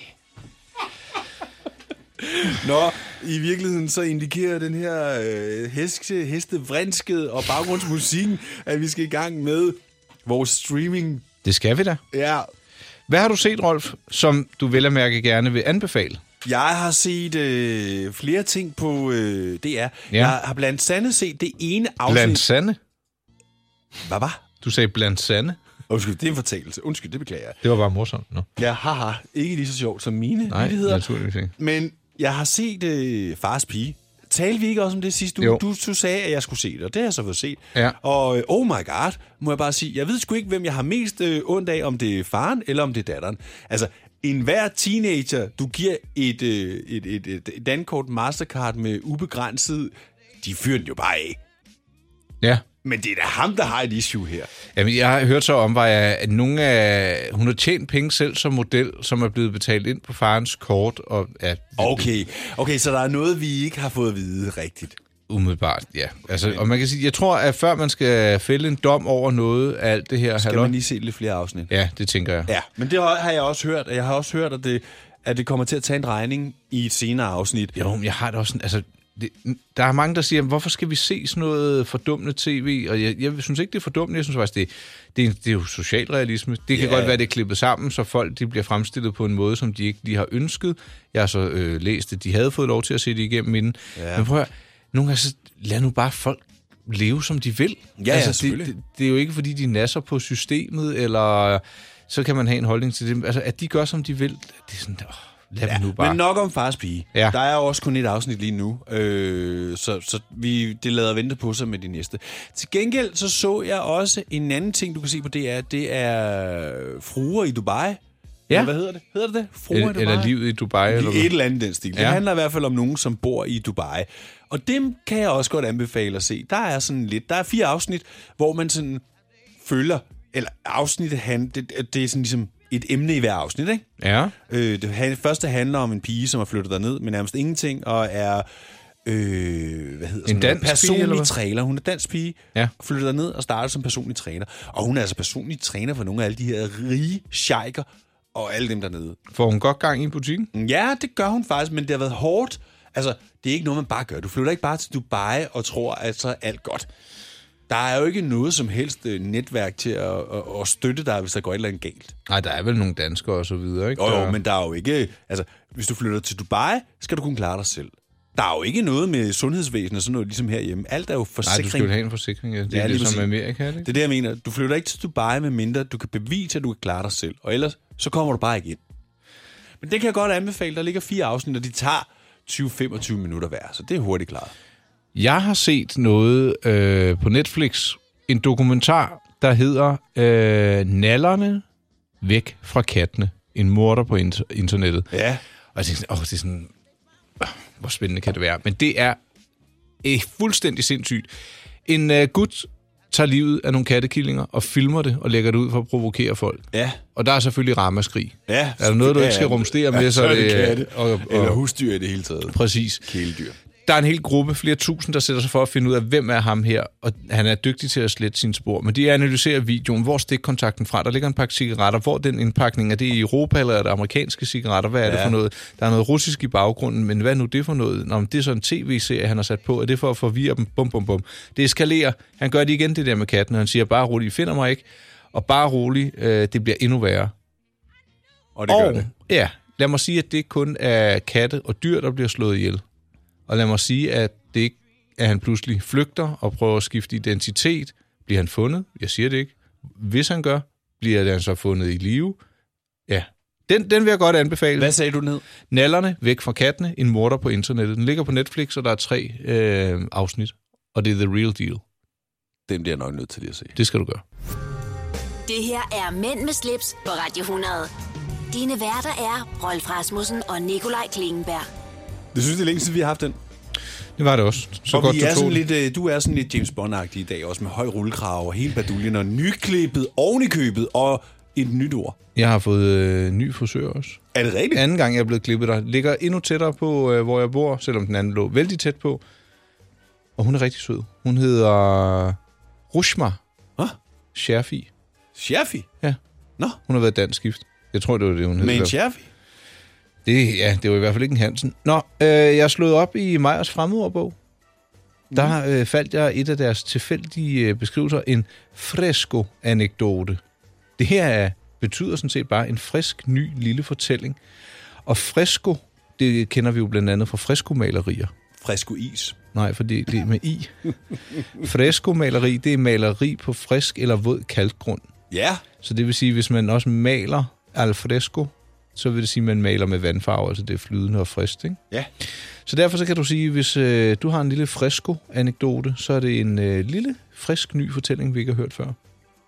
Speaker 8: Nå, i virkeligheden så indikerer den her øh, heste, hestevrinsket og baggrundsmusikken, at vi skal i gang med vores streaming.
Speaker 3: Det skal vi da.
Speaker 8: Ja,
Speaker 3: Hvad har du set, Rolf, som du vel at mærke gerne vil anbefale?
Speaker 8: jeg har set øh, flere ting på øh, DR. Ja. Jeg har blandt andet set det ene afsnit.
Speaker 3: Blandt sande?
Speaker 8: Hvad var?
Speaker 3: Du sagde blandt sande.
Speaker 8: Undskyld, det er en fortalelse. Undskyld, det beklager jeg.
Speaker 3: Det var bare morsomt. Nå.
Speaker 8: Ja, haha. Ikke lige så sjovt som mine
Speaker 3: Nej,
Speaker 8: nyheder.
Speaker 3: naturligvis ikke.
Speaker 8: Men jeg har set øh, Fars Pige. Talte vi ikke også om det sidste uge?
Speaker 3: Jo.
Speaker 8: Du, du sagde, at jeg skulle se det, og det har jeg så fået set.
Speaker 3: Ja.
Speaker 8: Og øh, oh my god, må jeg bare sige, jeg ved sgu ikke, hvem jeg har mest øh, ondt af, om det er faren eller om det er datteren. Altså, enhver teenager, du giver et, øh, et, et, et, et dankort Mastercard med ubegrænset, de fyrer den jo bare af.
Speaker 3: Ja.
Speaker 8: Men det er da ham, der har et issue her.
Speaker 3: Jamen, jeg har hørt så om, var jeg, at nogle af, hun har tjent penge selv som model, som er blevet betalt ind på farens kort. Og, ja,
Speaker 8: Okay, okay så der er noget, vi ikke har fået at vide rigtigt.
Speaker 3: Umiddelbart, ja. Altså, og man kan sige, jeg tror, at før man skal fælde en dom over noget af alt det her...
Speaker 8: Skal
Speaker 3: halløj-
Speaker 8: man lige se lidt flere afsnit?
Speaker 3: Ja, det tænker jeg.
Speaker 8: Ja, men det har har jeg også hørt. og Jeg har også hørt, at det, at det kommer til at tage en regning i et senere afsnit.
Speaker 3: Jo, men jeg har det også sådan, altså, det, der er mange, der siger, hvorfor skal vi se sådan noget fordummende tv? Og jeg, jeg synes ikke, det er fordummende. Jeg synes faktisk, det, det, er, det er jo socialrealisme. Det kan
Speaker 8: Ja.
Speaker 3: yeah. godt være, det er klippet sammen, så folk de bliver fremstillet på en måde, som de ikke lige har ønsket. Jeg har så øh, læst, at de havde fået lov til at se det igennem inden.
Speaker 8: Ja.
Speaker 3: Yeah. Men prøv at høre, nogle gange, så lad nu bare folk leve, som de vil. Altså,
Speaker 8: Ja, ja,
Speaker 3: det,
Speaker 8: selvfølgelig.
Speaker 3: det, det er jo ikke, fordi de nasser på systemet, eller så kan man have en holdning til det. Altså, at de gør, som de vil, det er sådan, åh, lad ja, dem nu bare.
Speaker 8: Men nok om fars pige.
Speaker 3: Ja.
Speaker 8: Der er jo også kun et afsnit lige nu, øh, så, så vi, det lader vente på sig med de næste. Til gengæld så så jeg også en anden ting, du kan se på DR. Det er fruer i Dubai. Eller Hvad hedder det? Hedder det det? Fruer
Speaker 3: Eller,
Speaker 8: i Dubai?
Speaker 3: eller livet i Dubai. Eller
Speaker 8: Et
Speaker 3: hvad?
Speaker 8: eller andet i den stil. Det
Speaker 3: Ja.
Speaker 8: ja. handler i hvert fald om nogen, som bor i Dubai. Og dem kan jeg også godt anbefale at se. Der er sådan lidt, der er fire afsnit, hvor man sådan følger, eller afsnittet, han, det, det er sådan ligesom et emne i hver afsnit, ikke?
Speaker 3: Ja.
Speaker 8: Øh, det han, første handler om en pige, som er flyttet derned med nærmest ingenting, og er... Øh, hvad hedder sådan noget?
Speaker 3: dansk pige,
Speaker 8: personlig
Speaker 3: eller hvad?
Speaker 8: træner. Hun er dansk pige,
Speaker 3: Ja.
Speaker 8: flytter ned og starter som personlig træner. Og hun er altså personlig træner for nogle af alle de her rige sjejker og alle dem dernede.
Speaker 3: Får hun godt gang i butikken?
Speaker 8: Ja, det gør hun faktisk, men det har været hårdt. Altså, det er ikke noget, man bare gør. Du flytter ikke bare til Dubai og tror, at så er alt godt. Der er jo ikke noget som helst øh, netværk til at, at, at støtte dig, hvis der går et eller andet galt.
Speaker 3: Nej, der er vel nogle danskere og så videre, ikke?
Speaker 8: Jo, jo,
Speaker 3: Der-
Speaker 8: men der er jo ikke... Altså, hvis du flytter til Dubai, skal du kunne klare dig selv. Der er jo ikke noget med sundhedsvæsen og sådan noget, ligesom herhjemme. Alt er jo
Speaker 3: Nej,
Speaker 8: forsikring.
Speaker 3: du skal jo have en forsikring, ja. Det
Speaker 8: Ja,
Speaker 3: er
Speaker 8: lige
Speaker 3: ligesom
Speaker 8: præcis.
Speaker 3: Amerika, er det
Speaker 8: Det
Speaker 3: ikke?
Speaker 8: er det, jeg mener. Du flytter ikke til Dubai, med mindre du kan bevise, at du kan klare dig selv. Og ellers, så kommer du bare ikke ind. Men det kan jeg godt anbefale. Der ligger fire afsnit, og de tager 20-25 minutter hver. Så det er hurtigt klaret.
Speaker 3: Jeg har set noget øh, på Netflix, en dokumentar, der hedder øh, Nallerne væk fra kattene. En morder på inter- internettet.
Speaker 8: Ja.
Speaker 3: Og jeg tænkte, sådan, åh, det er sådan, åh, hvor spændende kan det være. Men det er øh, fuldstændig sindssygt. En øh, gut tager livet af nogle kattekillinger og filmer det og lægger det ud for at provokere folk.
Speaker 8: Ja.
Speaker 3: Og der er selvfølgelig ramaskrig.
Speaker 8: Ja.
Speaker 3: Er der noget, du ikke skal rumstere med, så er det...
Speaker 8: katte.
Speaker 3: og, og,
Speaker 8: Eller husdyr i det hele taget.
Speaker 3: Præcis.
Speaker 8: Kæledyr.
Speaker 3: Der er en hel gruppe, flere tusind, der sætter sig for at finde ud af, hvem er ham her, og han er dygtig til at slette sine spor. Men de analyserer videoen, hvor stikkontakten fra, der ligger en pakke cigaretter, hvor er den indpakning, er det i Europa, eller er det amerikanske cigaretter, hvad er det
Speaker 8: Ja.
Speaker 3: for noget? Der er noget russisk i baggrunden, men hvad er nu det for noget? Nå, men det er så en tv-serie, han har sat på, er det for at forvirre dem? Bum, bum, bum. Det eskalerer. Han gør det igen, det der med katten, og han siger, bare rolig, I finder mig ikke. Og bare rolig, øh, det bliver endnu værre.
Speaker 8: Og det gør det.
Speaker 3: Ja, lad mig sige, at det ikke kun er katte og dyr, der bliver slået ihjel. Og lad mig sige, at det ikke at han pludselig flygter og prøver at skifte identitet. Bliver han fundet? Jeg siger det ikke. Hvis han gør, bliver han så fundet i live? Ja. Den, den vil jeg godt anbefale.
Speaker 8: Hvad sagde du ned?
Speaker 3: Nallerne væk fra kattene, en morder på internettet. Den ligger på Netflix, og der er tre øh, afsnit. Og det er The Real Deal.
Speaker 8: Den bliver jeg nok nødt til lige at se.
Speaker 3: Det skal du gøre.
Speaker 1: Det her er Mænd med slips på Radio 100. Dine værter er Rolf Rasmussen og Nikolaj Klingenberg.
Speaker 8: Det synes jeg er længe siden, vi har haft den.
Speaker 3: Det var det også.
Speaker 8: Så
Speaker 3: Så
Speaker 8: og
Speaker 3: godt,
Speaker 8: vi
Speaker 3: du
Speaker 8: er
Speaker 3: tog
Speaker 8: sådan
Speaker 3: den.
Speaker 8: lidt, øh, du er sådan lidt James bond i dag, også med høj rullekrav og hele baduljen og nyklippet oven i købet og et nyt ord.
Speaker 3: Jeg har fået øh, ny frisør også.
Speaker 8: Er det rigtigt?
Speaker 3: Anden gang, jeg er blevet klippet, der ligger endnu tættere på, øh, hvor jeg bor, selvom den anden lå vældig tæt på. Og hun er rigtig sød. Hun hedder Rushma.
Speaker 8: Hvad?
Speaker 3: Sherfi.
Speaker 8: Sherfi?
Speaker 3: Ja.
Speaker 8: Nå.
Speaker 3: Hun har været dansk gift. Jeg tror, det var det, hun hed.
Speaker 8: Med en Sherfi?
Speaker 3: Det, ja, det var i hvert fald ikke en Hansen. Nå, øh, jeg slog op i Meyers fremmedordbog. Der øh, faldt jeg et af deres tilfældige øh, beskrivelser, en fresco-anekdote. Det her er, betyder sådan set bare en frisk, ny lille fortælling. Og fresco, det kender vi jo blandt andet fra freskomalerier.
Speaker 8: Fresco is.
Speaker 3: Nej, for det, det er med i. Freskomaleri, det er maleri på frisk eller våd kalkgrund.
Speaker 8: Ja.
Speaker 3: Så det vil sige, hvis man også maler al fresco, så vil det sige, at man maler med vandfarve, altså det er flydende og frist, ikke?
Speaker 8: Ja.
Speaker 3: Så derfor så kan du sige, hvis øh, du har en lille fresco-anekdote, så er det en øh, lille, frisk, ny fortælling, vi ikke har hørt før.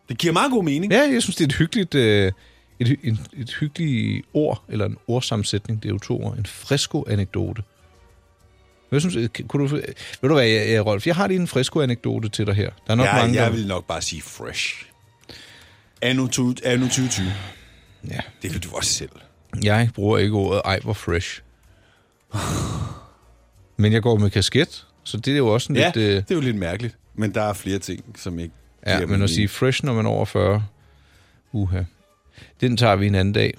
Speaker 8: Det giver meget god mening.
Speaker 3: Ja, jeg synes, det er et hyggeligt, øh, et, hy- en, et hyggeligt ord, eller en ordsammensætning, det er jo to ord, en fresco-anekdote. Jeg synes, øh, kan- kunne du, øh, ved du hvad, jeg, jeg, Rolf, jeg har lige en fresco-anekdote til dig her. Der er nok
Speaker 8: ja,
Speaker 3: mange,
Speaker 8: jeg
Speaker 3: der-
Speaker 8: vil nok bare sige fresh. Anno, to, anno 2020.
Speaker 3: Ja.
Speaker 8: Det vil du også selv.
Speaker 3: Jeg bruger ikke ordet, ej hvor fresh. Men jeg går med kasket, så det er jo også sådan
Speaker 8: Ja,
Speaker 3: lidt... Øh,
Speaker 8: det er jo lidt mærkeligt. Men der er flere ting, som ikke... giver
Speaker 3: ja, men
Speaker 8: mening.
Speaker 3: at sige fresh, når man er over 40. Uha. Den tager vi en anden dag.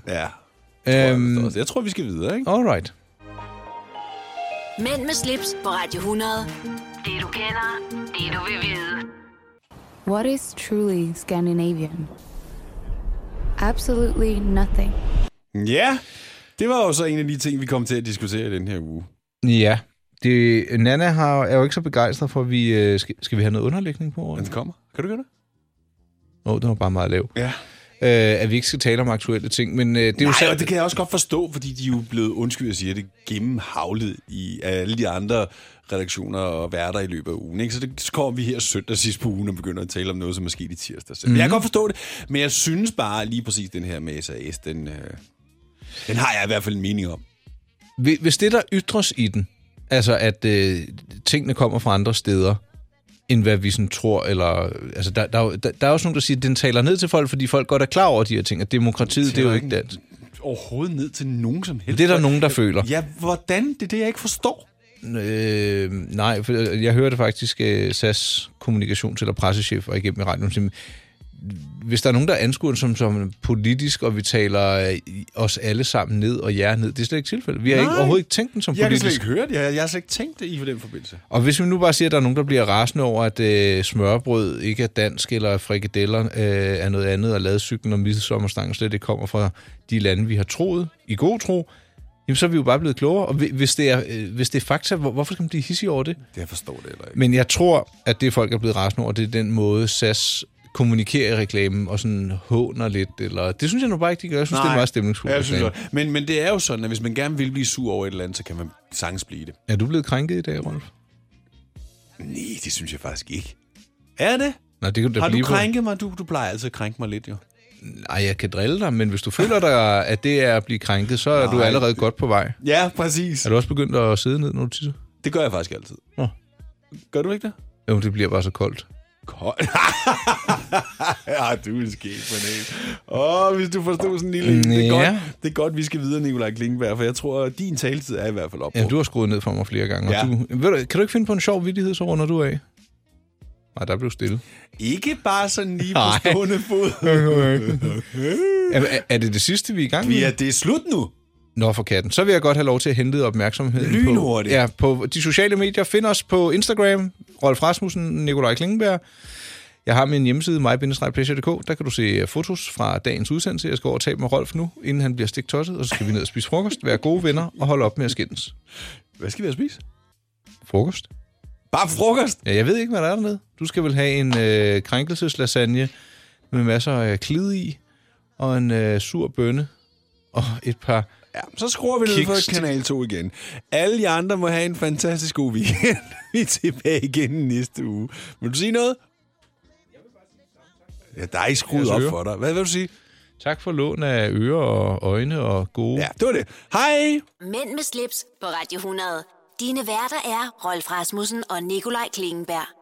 Speaker 8: Ja.
Speaker 3: Øhm,
Speaker 8: Så Jeg tror, vi skal videre, ikke?
Speaker 3: Alright.
Speaker 1: Mænd med slips på Radio 100. Det du kender, det du vil vide.
Speaker 11: What is truly Scandinavian? Absolutely nothing.
Speaker 8: Ja, det var jo så en af de ting, vi kom til at diskutere i den her uge.
Speaker 3: Ja. Det, Nana har, er jo ikke så begejstret for, at vi... Øh, skal, skal vi have noget underlægning på? Eller? Den
Speaker 8: kommer. Kan du gøre det?
Speaker 3: Åh, oh, den var bare meget lav.
Speaker 8: Ja.
Speaker 3: Øh, at vi ikke skal tale om aktuelle ting, men øh, det er jo
Speaker 8: Nej,
Speaker 3: så...
Speaker 8: og det kan jeg også godt forstå, fordi de er jo blevet, undskyld, jeg siger det, gennemhavlet i alle de andre redaktioner og værter i løbet af ugen. Ikke? Så, det, så kommer vi her søndag sidst på ugen og begynder at tale om noget, som er sket i tirsdag. Mm.
Speaker 3: Mhm.
Speaker 8: Jeg kan godt forstå det, men jeg synes bare lige præcis den her med SAS, den, øh, den har jeg i hvert fald en mening om.
Speaker 3: Hvi- Hvis det, der ytres i den, altså at øh, tingene kommer fra andre steder, end hvad vi sådan tror, eller... Altså, der, der, er jo- der, der er også nogen, der siger, at den taler ned til folk, fordi folk godt er klar over de her ting, at demokratiet, det er jo ikke dansk.
Speaker 8: Overhovedet ned til nogen som helst.
Speaker 3: Det er der nogen, der føler.
Speaker 8: Ja, hvordan? Det er det, jeg ikke forstår.
Speaker 3: Øh, nej, for jeg hørte faktisk øh, SAS kommunikations- eller pressechef og igennem i radioen sige, hvis der er nogen, der anskuer det som, som politisk, og vi taler øh, i- os alle sammen ned og jer ned, det er slet ikke tilfældet. Vi har ikke,
Speaker 8: Nej.
Speaker 3: overhovedet ikke tænkt den som
Speaker 8: Jeg kan
Speaker 3: politisk.
Speaker 8: slet ikke høre det. Jeg, jeg har slet ikke tænkt det i den forbindelse.
Speaker 3: Og hvis vi nu bare siger, at der er nogen, der bliver rasende over, at øh, smørbrød ikke er dansk, eller at frikadeller øh, er noget andet, og ladcyklen og midsommerstangen slet ikke kommer fra de lande, vi har troet, i god tro, jamen så er vi jo bare blevet klogere. Og hvi- hvis det er, øh, hvis det er fakta, hvor, hvorfor skal man blive hissig over det?
Speaker 8: Det jeg forstår det heller ikke.
Speaker 3: Men jeg tror, at det folk er blevet rasende over, det er den måde, SAS kommunikerer i reklamen og sådan håner lidt. Eller, det synes jeg nu bare ikke, de gør. Jeg synes, Nej. det er meget stemningsfuldt.
Speaker 8: Jeg synes også. Men, men det er jo sådan, at hvis man gerne vil blive sur over et eller andet, så kan man sagtens blive det.
Speaker 3: Er du blevet krænket i dag, Rolf?
Speaker 8: Nej, det synes jeg faktisk ikke. Er det?
Speaker 3: Nå, det kan da
Speaker 8: Har du
Speaker 3: blive på.
Speaker 8: krænket mig? Du, du plejer altid at krænke mig lidt, jo.
Speaker 3: Nej, jeg kan drille dig, men hvis du føler dig, at det er at blive krænket, så er Nej. du
Speaker 8: Nej.
Speaker 3: allerede godt på vej.
Speaker 8: Ja, præcis.
Speaker 3: Er du også begyndt at sidde ned, når du tisser?
Speaker 8: Det gør jeg faktisk altid.
Speaker 3: Nå.
Speaker 8: Gør du ikke det?
Speaker 3: Jo, det bliver bare så koldt.
Speaker 8: Kold. ja, du er en skæg banan. Åh, hvis du forstod sådan en lille... Det er,
Speaker 3: Ja.
Speaker 8: godt, det er godt, vi skal videre, Nikolaj Klingberg, for jeg tror, at din taletid er i hvert fald op.
Speaker 3: Ja, du har skruet ned for mig flere gange. Ja.
Speaker 8: Ja.
Speaker 3: Og du, ved du, kan du ikke finde på en sjov vittighed, så runder du af? Nej, der blev stille.
Speaker 8: Ikke bare sådan lige
Speaker 3: Nej.
Speaker 8: på stående fod.
Speaker 3: Er, er, er det det sidste, vi er i gang med?
Speaker 8: Vi er, det er slut nu.
Speaker 3: Nå for katten. Så vil jeg godt have lov til at hente opmærksomheden
Speaker 8: Lynhurtigt.
Speaker 3: På, ja, på de sociale medier. Find os på Instagram, Rolf Rasmussen, Nikolaj Klingenberg. Jeg har min hjemmeside, mig Der kan du se øh, fotos fra dagens udsendelse. Jeg skal over og tale med Rolf nu, inden han bliver stiktosset. Og så skal vi ned og spise frokost, være gode venner og holde op med at skændes.
Speaker 8: Hvad skal vi have at spise?
Speaker 3: Frokost.
Speaker 8: Bare frokost?
Speaker 3: Ja, jeg ved ikke, hvad der er dernede. Du skal vel have en øh, krænkelseslasagne med masser af klid i, og en øh, sur bønne, og et par...
Speaker 8: Ja, så skruer vi ned
Speaker 3: Kiks-
Speaker 8: for Kanal 2 igen. Alle de andre må have en fantastisk god weekend. vi er tilbage igen næste uge. Vil du sige noget? Ja, der er ikke skruet op for dig. Hvad vil du sige?
Speaker 3: Tak for lån af ører og øjne og gode. Ja,
Speaker 8: det var det. Hej!
Speaker 1: Mænd med slips på Radio 100. Dine værter er Rolf Rasmussen og Nikolaj Klingenberg.